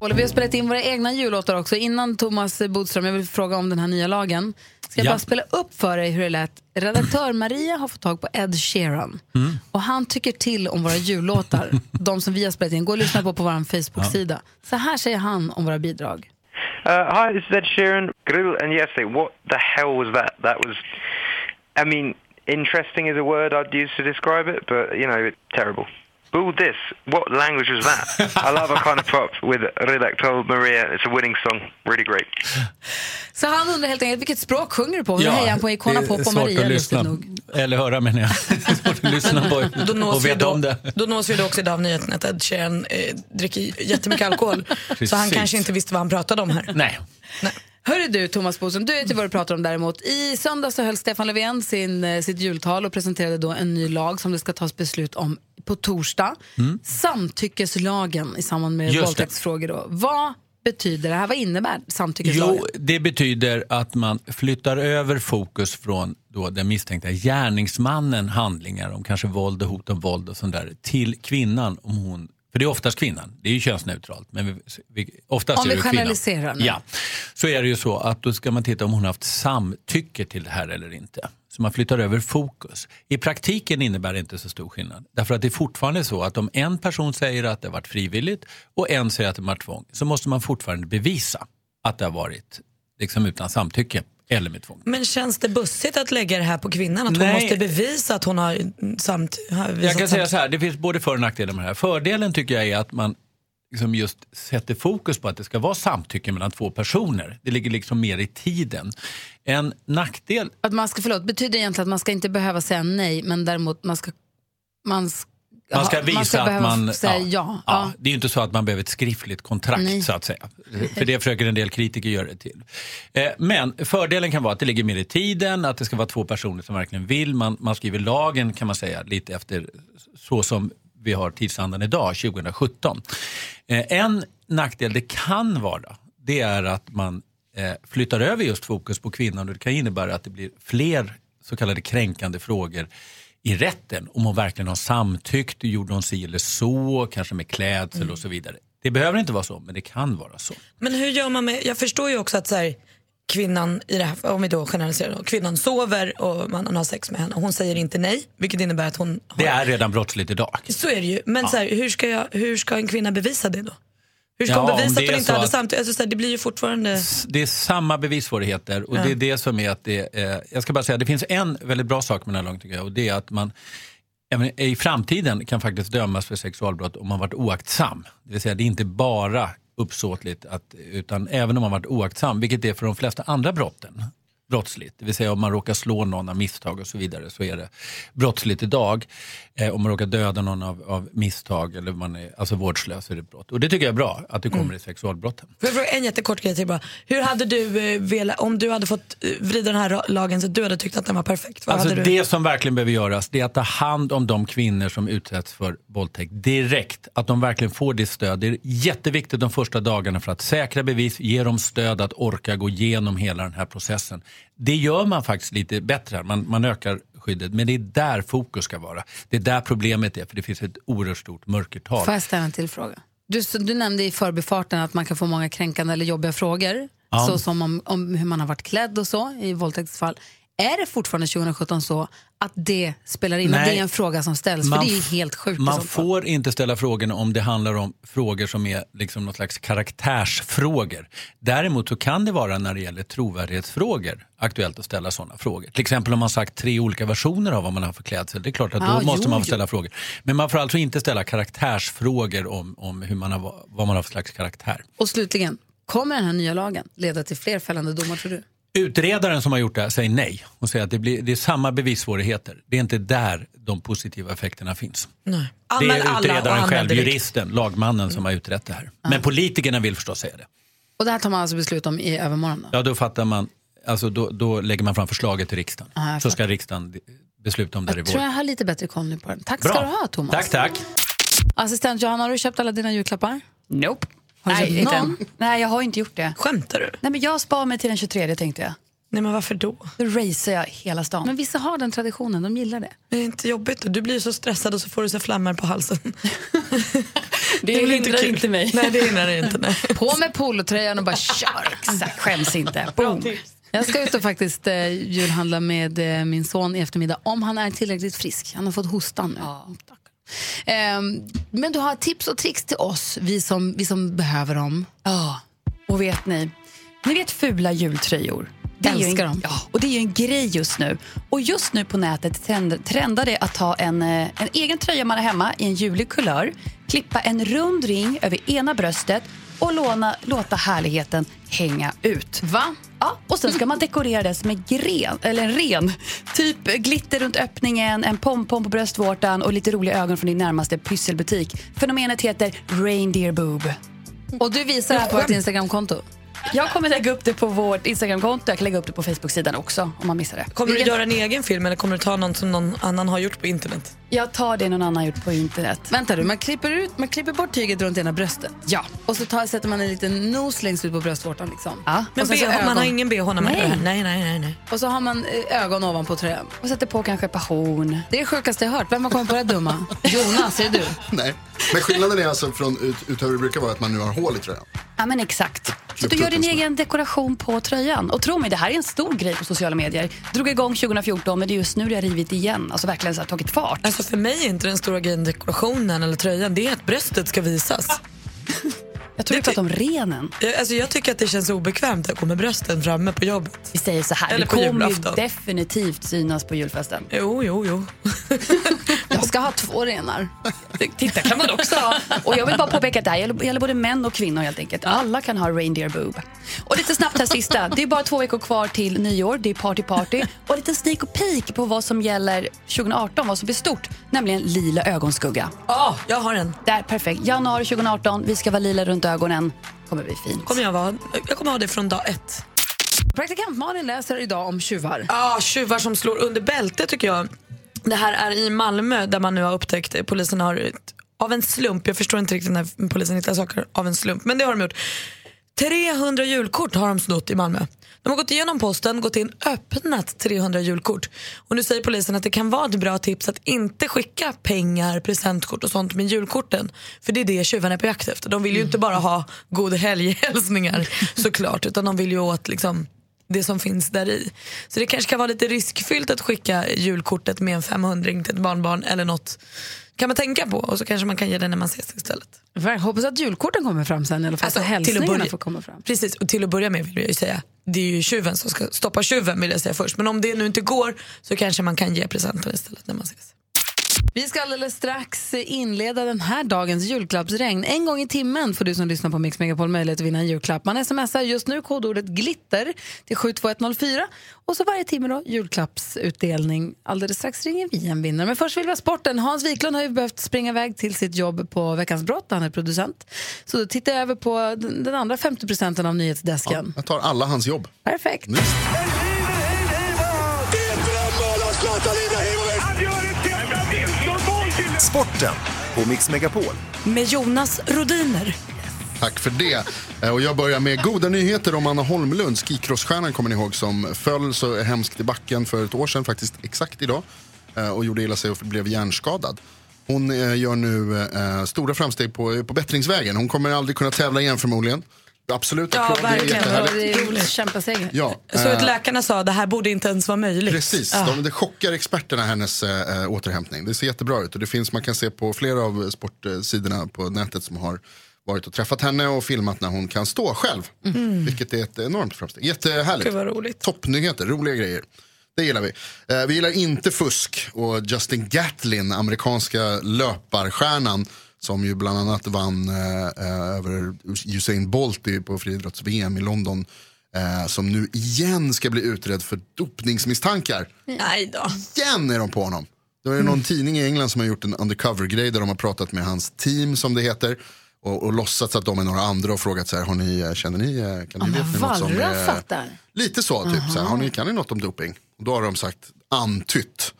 Speaker 1: Olle, Vi har spelat in våra egna jullåtar också. Innan Thomas Bodström, jag vill fråga om den här nya lagen. Ska jag
Speaker 24: Ja.
Speaker 1: bara spela upp för dig hur det lät. Redaktör Maria har fått tag på Ed Sheeran. Mm. Och han tycker till om våra jullåtar, de som vi har spelat in. Gå och lyssna på på vår Facebook-sida. Så här säger han om våra bidrag.
Speaker 22: Uh, hi, this is Ed Sheeran. Grill and yesterday, what the hell was that? That was, I mean, interesting is a word I'd use to describe it, but you know, terrible. Boo this. What language was that? I love a kind of pop with Redactor Maria. It's a winning song. Really great.
Speaker 1: Så han undrar helt enkelt, vilket språk sjunger du på? Och då hejar han på Icona
Speaker 24: det är
Speaker 1: Pop och
Speaker 24: svårt
Speaker 1: Maria, liksom?
Speaker 24: att
Speaker 1: lustigt
Speaker 24: lyssna.
Speaker 1: nog.
Speaker 24: Eller höra menar jag. Det är svårt att lyssna
Speaker 2: Då
Speaker 24: på
Speaker 2: nås
Speaker 24: och
Speaker 2: vi
Speaker 24: veta
Speaker 2: då.
Speaker 24: om det.
Speaker 2: Då nås vi då också idag av nyheten att Ed Sheeran eh, dricker jättemycket alkohol. så han
Speaker 24: Precis.
Speaker 2: kanske inte visste vad han pratade om här.
Speaker 24: Nej.
Speaker 1: Hörru du, Thomas Bodström, du vet ju vad du pratar om däremot. I söndag så höll Stefan Löfven sin, eh, sitt jultal och presenterade då en ny lag som det ska tas beslut om på torsdag.
Speaker 19: Mm.
Speaker 1: Samtyckeslagen i samband med
Speaker 24: Just det.
Speaker 1: våldtäktsfrågor. Då. Vad betyder det här? Vad innebär samtyckeslagen?
Speaker 24: Jo, det betyder att man flyttar över fokus från då den misstänkta gärningsmannen handlingar om kanske våld och hot om våld och sånt där till kvinnan om hon för det är oftast kvinnan, det är ju könsneutralt. Men vi, vi, oftast
Speaker 1: Om
Speaker 24: är
Speaker 1: vi
Speaker 24: det kvinnan.
Speaker 1: generaliserar nu.
Speaker 24: Ja. Så är det ju så att då ska man titta om hon haft samtycke till det här eller inte. Så man flyttar över fokus. I praktiken innebär det inte så stor skillnad. Därför att det är fortfarande så att om en person säger att det har varit frivilligt och en säger att det har varit tvång så måste man fortfarande bevisa att det har varit liksom utan samtycke eller med tvång.
Speaker 2: Men känns det bussigt att lägga det här på kvinnan? Att hon
Speaker 24: Nej.
Speaker 2: måste bevisa att hon har samt... Har visat
Speaker 24: Jag kan
Speaker 2: samt-
Speaker 24: säga så här, det finns både för och nackdelar med det här. Fördelen tycker jag är att man liksom just sätter fokus på att det ska vara samtycke mellan två personer. Det ligger liksom mer i tiden. En nackdel
Speaker 1: Att man ska, förlåt, betyder egentligen att man ska inte behöva säga nej, men däremot man ska... Man ska,
Speaker 24: Man ska
Speaker 1: ha-
Speaker 24: visa att
Speaker 1: behöva
Speaker 24: man-
Speaker 1: f- säga ja.
Speaker 24: ja.
Speaker 1: ja.
Speaker 24: Ja, det är ju inte så att man behöver ett skriftligt kontrakt
Speaker 1: Nej.
Speaker 24: så att säga. För det försöker en del kritiker göra det till. Eh, Men fördelen kan vara att det ligger mer i tiden, att det ska vara två personer som verkligen vill. Man, man skriver lagen kan man säga lite efter så som vi har tidsandan idag, 2017. Eh, En nackdel det kan vara, det är att man eh, flyttar över just fokus på kvinnan och det kan innebära att det blir fler så kallade kränkande frågor i rätten om hon verkligen har samtyckt, gjorde hon si eller så, kanske med klädsel och så vidare. Det behöver inte vara så, men det kan vara så.
Speaker 2: Men hur gör man med... Jag förstår ju också att så här, kvinnan, i det här, om vi då generaliserar, då, kvinnan sover och mannen har sex med henne. Hon säger inte nej, vilket innebär att hon...
Speaker 24: Det är redan brottsligt idag.
Speaker 2: Så är det ju. Men
Speaker 24: Ja.
Speaker 2: så här, hur, ska jag, hur ska en kvinna bevisa det då? Hur ska
Speaker 24: Ja,
Speaker 2: hon
Speaker 24: om det
Speaker 2: bevisa att hon
Speaker 24: är
Speaker 2: inte
Speaker 24: så
Speaker 2: hade
Speaker 24: att-
Speaker 2: samtycke? Alltså, så här, det blir ju fortfarande...
Speaker 24: Det är samma bevissvårigheter och
Speaker 2: Ja.
Speaker 24: det är det som är att det eh, Jag ska bara säga, det finns en väldigt bra sak med den här lagen tycker jag och det är att man även i framtiden kan faktiskt dömas för sexualbrott om man varit oaktsam. Det vill säga det är inte bara uppsåtligt att, utan även om man varit oaktsam, vilket det är för de flesta andra brotten brottsligt. Det vill säga om man råkar slå någon av misstag och så vidare så är det brottsligt idag. Eh, om man råkar döda någon av, av misstag eller man är alltså vårdslös så är det brott. Och det tycker jag är bra att det kommer i sexualbrotten.
Speaker 2: Får jag fråga en jättekort grej till bara. Hur hade du eh, velat, om du hade fått eh, vrida den här ra- lagen så att du hade tyckt att den var perfekt? Vad
Speaker 24: Alltså
Speaker 2: hade du?
Speaker 24: det som verkligen behöver göras det är att ta hand om de kvinnor som utsätts för våldtäkt direkt. Att de verkligen får det stöd. Det är jätteviktigt de första dagarna för att säkra bevis, ge dem stöd att orka gå igenom hela den här processen. Det gör man faktiskt lite bättre, här. man, man ökar skyddet. Men det är där fokus ska vara. Det är där problemet är, för det finns ett oerhört stort mörkertal.
Speaker 1: Får jag ställa en till fråga? Du, så- du nämnde i förbifarten att man kan få många kränkande eller jobbiga frågor.
Speaker 24: Ja.
Speaker 1: Så som om, om hur man har varit klädd och så i våldtäktsfall. Är det fortfarande 2017 så att det spelar in? Att
Speaker 24: Nej.
Speaker 1: det är en fråga som ställs?
Speaker 24: Man
Speaker 1: för det är ju
Speaker 24: f-
Speaker 1: helt sjukt. i
Speaker 24: Man
Speaker 1: sånt fall.
Speaker 24: får inte ställa frågorna om det handlar om frågor som är liksom något slags karaktärsfrågor. Däremot så kan det vara när det gäller trovärdighetsfrågor aktuellt att ställa sådana frågor. Till exempel om man sagt tre olika versioner av vad man har för klädsel. Det är klart att
Speaker 1: Ah,
Speaker 24: då måste
Speaker 1: jo,
Speaker 24: man
Speaker 1: jo.
Speaker 24: få ställa frågor. Men man får alltså inte ställa karaktärsfrågor om, om hur man har, vad man har för slags karaktär.
Speaker 1: Och slutligen, kommer den här nya lagen leda till fler fällande domar tror du?
Speaker 24: Utredaren som har gjort det här säger nej och säger att det, blir, det är samma bevissvårigheter. Det är inte där de positiva effekterna finns.
Speaker 2: Nej.
Speaker 24: Det
Speaker 2: Anmäl
Speaker 24: är
Speaker 2: alla och
Speaker 24: utredaren
Speaker 2: använd
Speaker 24: själv,
Speaker 2: direkt.
Speaker 24: juristen, lagmannen som har utrett det här. Men politikerna vill förstås säga det.
Speaker 1: Och det här tar man alltså beslut om i övermorgon? då?
Speaker 24: Ja, då fattar man, alltså då, då lägger man fram förslaget till riksdagen.
Speaker 1: Ja, jag
Speaker 24: Så ska riksdagen di- besluta om det här i
Speaker 1: Jag tror jag
Speaker 24: vår.
Speaker 1: har lite bättre koll nu på den. Tack
Speaker 24: Bra.
Speaker 1: ska du ha Thomas.
Speaker 24: Tack, tack.
Speaker 1: Assistent Johanna, har du köpt alla dina julklappar?
Speaker 25: Nope.
Speaker 1: Har du
Speaker 25: Nej,
Speaker 1: köpt
Speaker 25: inte
Speaker 1: någon?
Speaker 25: än. Nej, jag har inte gjort det.
Speaker 2: Skämtar du?
Speaker 25: Nej, men jag spar mig till den 23 tänkte jag.
Speaker 2: Nej, men varför då?
Speaker 25: Då racear jag hela stan.
Speaker 1: Men vissa har den traditionen, de gillar det.
Speaker 2: Det är inte jobbigt då. Du blir så stressad och så får du så här flammor på halsen.
Speaker 25: Det
Speaker 2: är väl
Speaker 25: hindrar
Speaker 2: kul.
Speaker 25: inte mig.
Speaker 2: Nej, det hindrar det inte. Nej.
Speaker 1: På med polotröjan och bara kör. Exakt, skäms inte. Boom. Jag ska ut och faktiskt eh, julhandla med eh, min son i eftermiddag om han är tillräckligt frisk. Han har fått hostan nu. Tack. Ehm, men du har tips och tricks till oss, vi som, vi som behöver dem.
Speaker 25: Ja, och vet ni? Ni vet fula jultröjor? Det är ju
Speaker 1: Älskar
Speaker 25: en,
Speaker 1: dem.
Speaker 25: Ja, och det är ju en grej just nu. Och just nu på nätet trend, trendar det att ha en, eh, en egen tröja man har hemma i en julig kulör, klippa en rund ring över ena bröstet och låna, låta härligheten hänga ut.
Speaker 1: Va?
Speaker 25: Ja, och sen ska man dekorera det som en gren, eller en ren. Typ glitter runt öppningen, en pompom på bröstvårtan och lite roliga ögon från din närmaste pysselbutik. Fenomenet heter reindeer boob.
Speaker 1: Och du visar det här på ett Instagramkonto?
Speaker 25: Jag kommer lägga upp det på vårt Instagramkonto. Jag kan lägga upp det på Facebook-sidan också om man missar det.
Speaker 2: Kommer du
Speaker 25: Vilken-
Speaker 2: göra en egen film eller kommer du ta någon som någon annan har gjort på internet?
Speaker 25: Jag tar det någon annan gjort på internet.
Speaker 1: Vänta du, man klipper, ut, man klipper bort tyget runt ena bröstet. Ja. Och så tar, sätter man en liten nos längst ut på bröstvårtan. Liksom.
Speaker 25: Ja.
Speaker 2: Men
Speaker 1: Och sen så
Speaker 2: bh- man har ingen bh när man gör det här. Nej,
Speaker 1: nej.
Speaker 2: nej, nej. nej.
Speaker 1: Och så har man eh, ögon ovanpå tröjan.
Speaker 25: Och sätter på kanske ett par horn.
Speaker 1: Det är det sjukaste jag hört. Vem har kommit på det dumma? Jonas, är det du?
Speaker 7: Nej. Men skillnaden är alltså från ut, utöver det brukar vara att man nu har hål i tröjan.
Speaker 25: Ja, men exakt. Så
Speaker 7: Klippt
Speaker 25: du gör
Speaker 7: upp
Speaker 25: din
Speaker 7: en smäll.
Speaker 25: egen dekoration på tröjan. Och tro mig, det här är en stor grej på sociala medier. Drog igång 2014, men det är just nu det har rivit igen. Alltså verkligen så här, tagit fart.
Speaker 2: Alltså för mig är inte den stora grejen dekorationen eller tröjan, det är att bröstet ska visas.
Speaker 25: Jag tror vi pratar om renen.
Speaker 2: Jag, alltså jag tycker att det känns obekvämt att gå med brösten framme på jobbet.
Speaker 25: Vi säger så här,
Speaker 2: Eller
Speaker 25: det
Speaker 2: på
Speaker 25: kommer ju
Speaker 2: julafton.
Speaker 25: definitivt synas på julfesten.
Speaker 2: Jo, jo, jo.
Speaker 1: Jag ska ha två renar.
Speaker 25: Titta kan man också ha. Och jag vill bara påpeka att det här gäller, gäller både män och kvinnor helt enkelt. Alla kan ha reindeer boob. Och lite snabbt här sista. Det är bara två veckor kvar till nyår. Det är party party. Och lite sneak och peek på vad som gäller 2018, vad som blir stort. Nämligen lila ögonskugga.
Speaker 2: Ja, jag har en.
Speaker 25: Där, perfekt. Januari 2018, vi ska vara lila runt ögonen. kommer bli fint.
Speaker 2: Kommer jag, vara, jag kommer ha det från dag ett.
Speaker 1: Praktikant Malin läser idag om tjuvar.
Speaker 2: Ja, tjuvar som slår under bälte tycker jag. Det här är i Malmö där man nu har upptäckt, polisen har ett- av en slump, jag förstår inte riktigt när polisen hittar saker av en slump, men det har de gjort. 300 julkort har de snott i Malmö. De har gått igenom posten, gått in, öppnat 300 julkort. Och nu säger polisen att det kan vara ett bra tips att inte skicka pengar, presentkort och sånt med julkorten. För det är det tjuvarna är på jakt efter. De vill ju inte bara ha god helg-hälsningar såklart, utan de vill ju åt liksom det som finns där i. Så det kanske kan vara lite riskfyllt att skicka julkortet med en 500 till ett barnbarn eller något. kan man tänka på och så kanske man kan ge det när man ses istället.
Speaker 1: Jag hoppas att julkorten kommer fram sen. Eller alltså, hälsningarna får komma fram.
Speaker 2: Precis, och till att börja med vill jag ju säga, det är ju tjuven som ska stoppa tjuven vill jag säga först. Men om det nu inte går så kanske man kan ge presenten istället när man ses.
Speaker 1: Vi ska alldeles strax inleda den här dagens julklappsregn. En gång i timmen får du som lyssnar på Mix Megapol möjlighet att vinna en julklapp. Man smsar just nu kodordet glitter till 72104 och så varje timme då julklappsutdelning. Alldeles strax ringer vi en vinnare. Men först vill vi ha sporten. Hans Wiklund har ju behövt springa iväg till sitt jobb på Veckans brott. Han är producent. Så då tittar jag över på den den andra 50 procenten av nyhetsdesken.
Speaker 7: Jag tar alla hans jobb.
Speaker 1: Perfekt.
Speaker 5: Sporten på Mix Megapol.
Speaker 2: Med Jonas Rodiner.
Speaker 7: Tack för det. Eh, Och jag börjar med goda nyheter om Anna Holmlund, skikrossstjärnan kommer ni ihåg som föll så hemskt i backen för ett år sedan, faktiskt exakt idag, eh, och gjorde illa sig och blev hjärnskadad. Hon eh, gör nu eh, stora framsteg på, på bättringsvägen. Hon kommer aldrig kunna tävla igen förmodligen. Absolut,
Speaker 2: Ja,
Speaker 7: applåd, det är
Speaker 2: verkligen.
Speaker 7: jättehärligt.
Speaker 1: Det är en kämpaseger.
Speaker 7: Ja,
Speaker 2: Så att
Speaker 7: eh,
Speaker 2: läkarna sa, det här borde inte ens vara möjligt.
Speaker 7: Precis,
Speaker 2: Ja.
Speaker 7: de, det chockar experterna hennes eh, eh, återhämtning. Det ser jättebra ut och det finns, man kan se på flera av sportsidorna på nätet som har varit och träffat henne och filmat när hon kan stå själv. Vilket är ett enormt framsteg. Jättehärligt.
Speaker 2: Mm. Gud, vad roligt.
Speaker 7: Toppnyheter, roliga grejer. Det gillar vi. Eh, vi gillar inte fusk och Justin Gatlin, amerikanska löparstjärnan som ju bland annat vann eh, eh, över Usain Bolt i- på friidrotts-VM i London. Eh, som nu igen ska bli utredd för dopningsmisstankar.
Speaker 2: Nej då.
Speaker 7: Igen är de på honom. Då är det någon tidning i England som har gjort en undercover-grej där de har pratat med hans team som det heter. Och, och låtsats att de är några andra och frågat så här, har ni, eh, känner ni, eh, kan ni veta något som är... Lite så, typ. Så här, har ni, kan ni något om doping? Och då har de sagt, antytt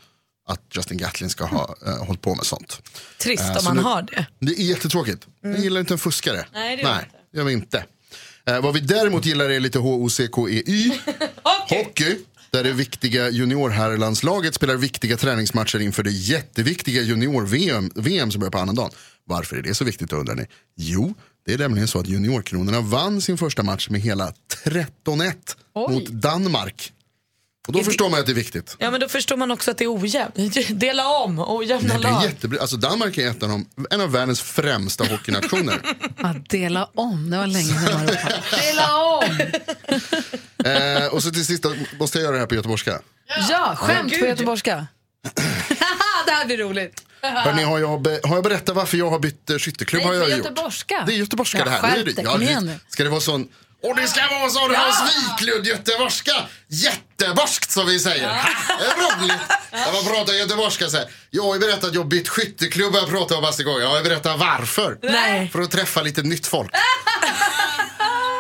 Speaker 7: att Justin Gatlin ska ha eh, hållit på med sånt.
Speaker 2: Trist
Speaker 7: Eh,
Speaker 2: om
Speaker 7: så
Speaker 2: man
Speaker 7: nu-
Speaker 2: har det. Mm.
Speaker 7: Det är jättetråkigt. Vi gillar inte en fuskare.
Speaker 2: Nej, det gör vi
Speaker 7: Nej, gör vi inte. Eh, vad vi däremot gillar är lite HOCKEY. Hockey. Där det viktiga juniorherrlandslaget spelar viktiga träningsmatcher inför det jätteviktiga junior-VM VM som börjar på annandagen. Varför är det så viktigt undrar ni? Jo, det är nämligen så att juniorkronorna vann sin första match med hela 13-1 mot Danmark. Och då förstår man att det är viktigt.
Speaker 2: Ja men då förstår man också att det är ojämnt. Dela om, ojämna
Speaker 7: Nej, det är
Speaker 2: lag.
Speaker 7: jättebra. Alltså Danmark är ett av de, en av världens främsta hockeynationer.
Speaker 1: Att dela om, det var länge sedan man ropade. Dela om!
Speaker 7: Eh, och så till sist, då måste jag göra det här på göteborgska?
Speaker 1: Ja, skämt
Speaker 2: Gud.
Speaker 1: på göteborgska. Haha, det här blir roligt.
Speaker 7: Hörrni, har, jag be- har jag berättat varför jag har bytt eh, skytteklubb?
Speaker 1: Nej,
Speaker 7: har jag
Speaker 1: för
Speaker 7: gjort.
Speaker 1: göteborgska.
Speaker 7: Det är göteborgska
Speaker 1: Ja,
Speaker 7: det här.
Speaker 1: skärp
Speaker 7: Det är det.
Speaker 1: dig,
Speaker 7: Ja,
Speaker 1: kom
Speaker 7: det-
Speaker 1: igen nu.
Speaker 7: Ska det vara sån... Och det ska vara sån Hans Wiklund göteborgska! Jätteborskt som vi säger. Det är roligt. Jag bara pratar göteborgska så här. Jag har ju berättat att jag bytt skytteklubb jag pratar om massa gånger. Jag har ju berättat varför.
Speaker 2: Nej.
Speaker 7: För att träffa lite nytt folk.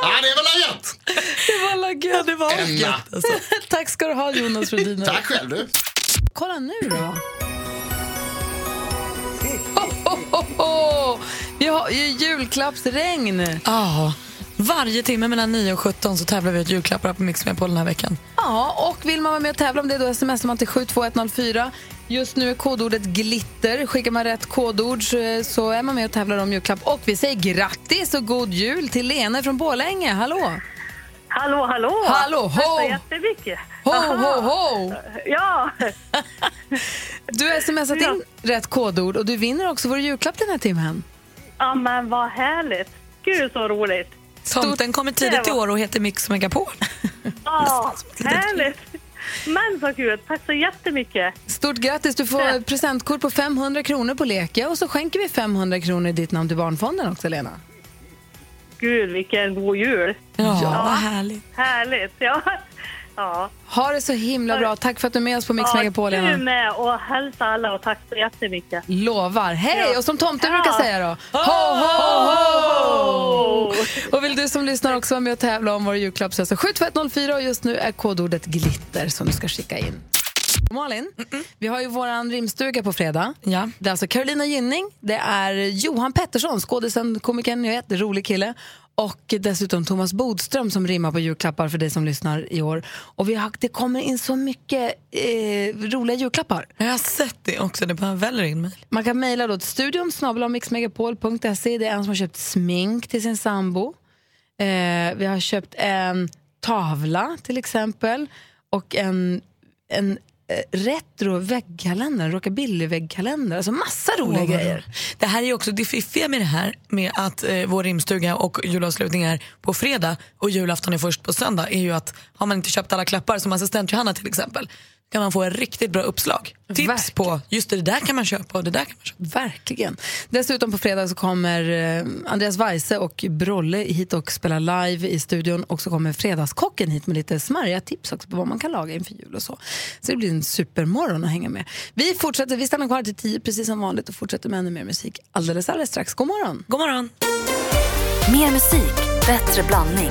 Speaker 7: Ja, det var lajat!
Speaker 1: Det var laggat. Det var
Speaker 7: Emma.
Speaker 1: laggat, alltså. Tack ska du ha Jonas Rhodiner.
Speaker 7: Tack själv du.
Speaker 1: Kolla nu då. Ho, ho, ho, ho. Vi har ju julklappsregn.
Speaker 2: Ja. Varje timme mellan 9 och 17 så tävlar vi ut julklappar på Mix på den här veckan.
Speaker 1: Ja, och vill man vara med och tävla om det då smsar man till 72104. Just nu är kodordet glitter. Skickar man rätt kodord så- så är man med och tävlar om julklapp. Och vi säger grattis och god jul till Lene från Borlänge. Hallå!
Speaker 13: Hallå, hallå!
Speaker 1: Hallå, ho!
Speaker 13: Tack så jättemycket.
Speaker 1: Ho,
Speaker 13: Aha.
Speaker 1: ho, ho!
Speaker 13: Ja,
Speaker 1: Du har smsat in rätt kodord och du vinner också vår julklapp den här timmen.
Speaker 13: ja, men vad härligt. Gud, så roligt.
Speaker 2: Tomten kommer tidigt i år och heter Mix Megapol.
Speaker 13: Ja, härligt. Men så kul. Tack så jättemycket.
Speaker 1: Stort grattis! Du får presentkort på 500 kronor på Leka och så skänker vi 500 kronor i ditt namn till Barnfonden också, Lena.
Speaker 13: Gud, vilken god jul.
Speaker 1: Ja, vad härligt.
Speaker 13: Härligt, ja. ja.
Speaker 1: Ha det så himla bra. Tack för att du är med oss på Mix
Speaker 13: Ja,
Speaker 1: Megapol, Lena.
Speaker 13: Du med och hälsa alla och tack så jättemycket.
Speaker 1: Lovar. Hej!
Speaker 13: Ja.
Speaker 1: Och som tomten
Speaker 13: Ja.
Speaker 1: brukar säga då. Ho, ho,
Speaker 2: Oh.
Speaker 1: ho! Och vill du som lyssnar också vara med och tävla om våra julklapp så är det 72104 och just nu är kodordet glitter som du ska skicka in. Malin, vi har ju våran rimstuga på fredag.
Speaker 2: Ja.
Speaker 1: Det är alltså Carolina Gynning, det är Johan Pettersson, skådisen, komikern, jag vet, rolig kille. Och dessutom Thomas Bodström som rimmar på julklappar för dig som lyssnar i år. Och vi har, det kommer in så mycket eh, roliga julklappar.
Speaker 2: Jag har sett det också, det bara väller in mig.
Speaker 1: Man kan mejla då till studion snabel-a mixmegapol.se. Det är en som har köpt smink till sin sambo. Eh, vi har köpt en tavla till exempel och en, en eh, retro väggkalender, rockabilly väggkalender. Alltså massa roliga
Speaker 2: Åh, vad
Speaker 1: grejer.
Speaker 2: Det här är ju också det fiffiga med det här med att eh, vår rimstuga och julavslutning är på fredag och julafton är först på söndag är ju att har man inte köpt alla klappar som assistent Johanna till exempel kan man få en riktigt bra uppslag. Tips på just det där kan man köpa och det där kan man köpa.
Speaker 1: Verkligen. Dessutom på fredag så kommer eh, Andreas Weise och Brolle hit och spelar live i studion och så kommer Fredagskocken hit med lite smarriga tips också på vad man kan laga inför jul och så. Så det blir en supermorgon att hänga med. Vi fortsätter, vi stannar kvar till tio precis som vanligt och fortsätter med ännu mer musik alldeles alldeles strax. God morgon!
Speaker 2: God morgon!
Speaker 26: Mer musik, bättre blandning.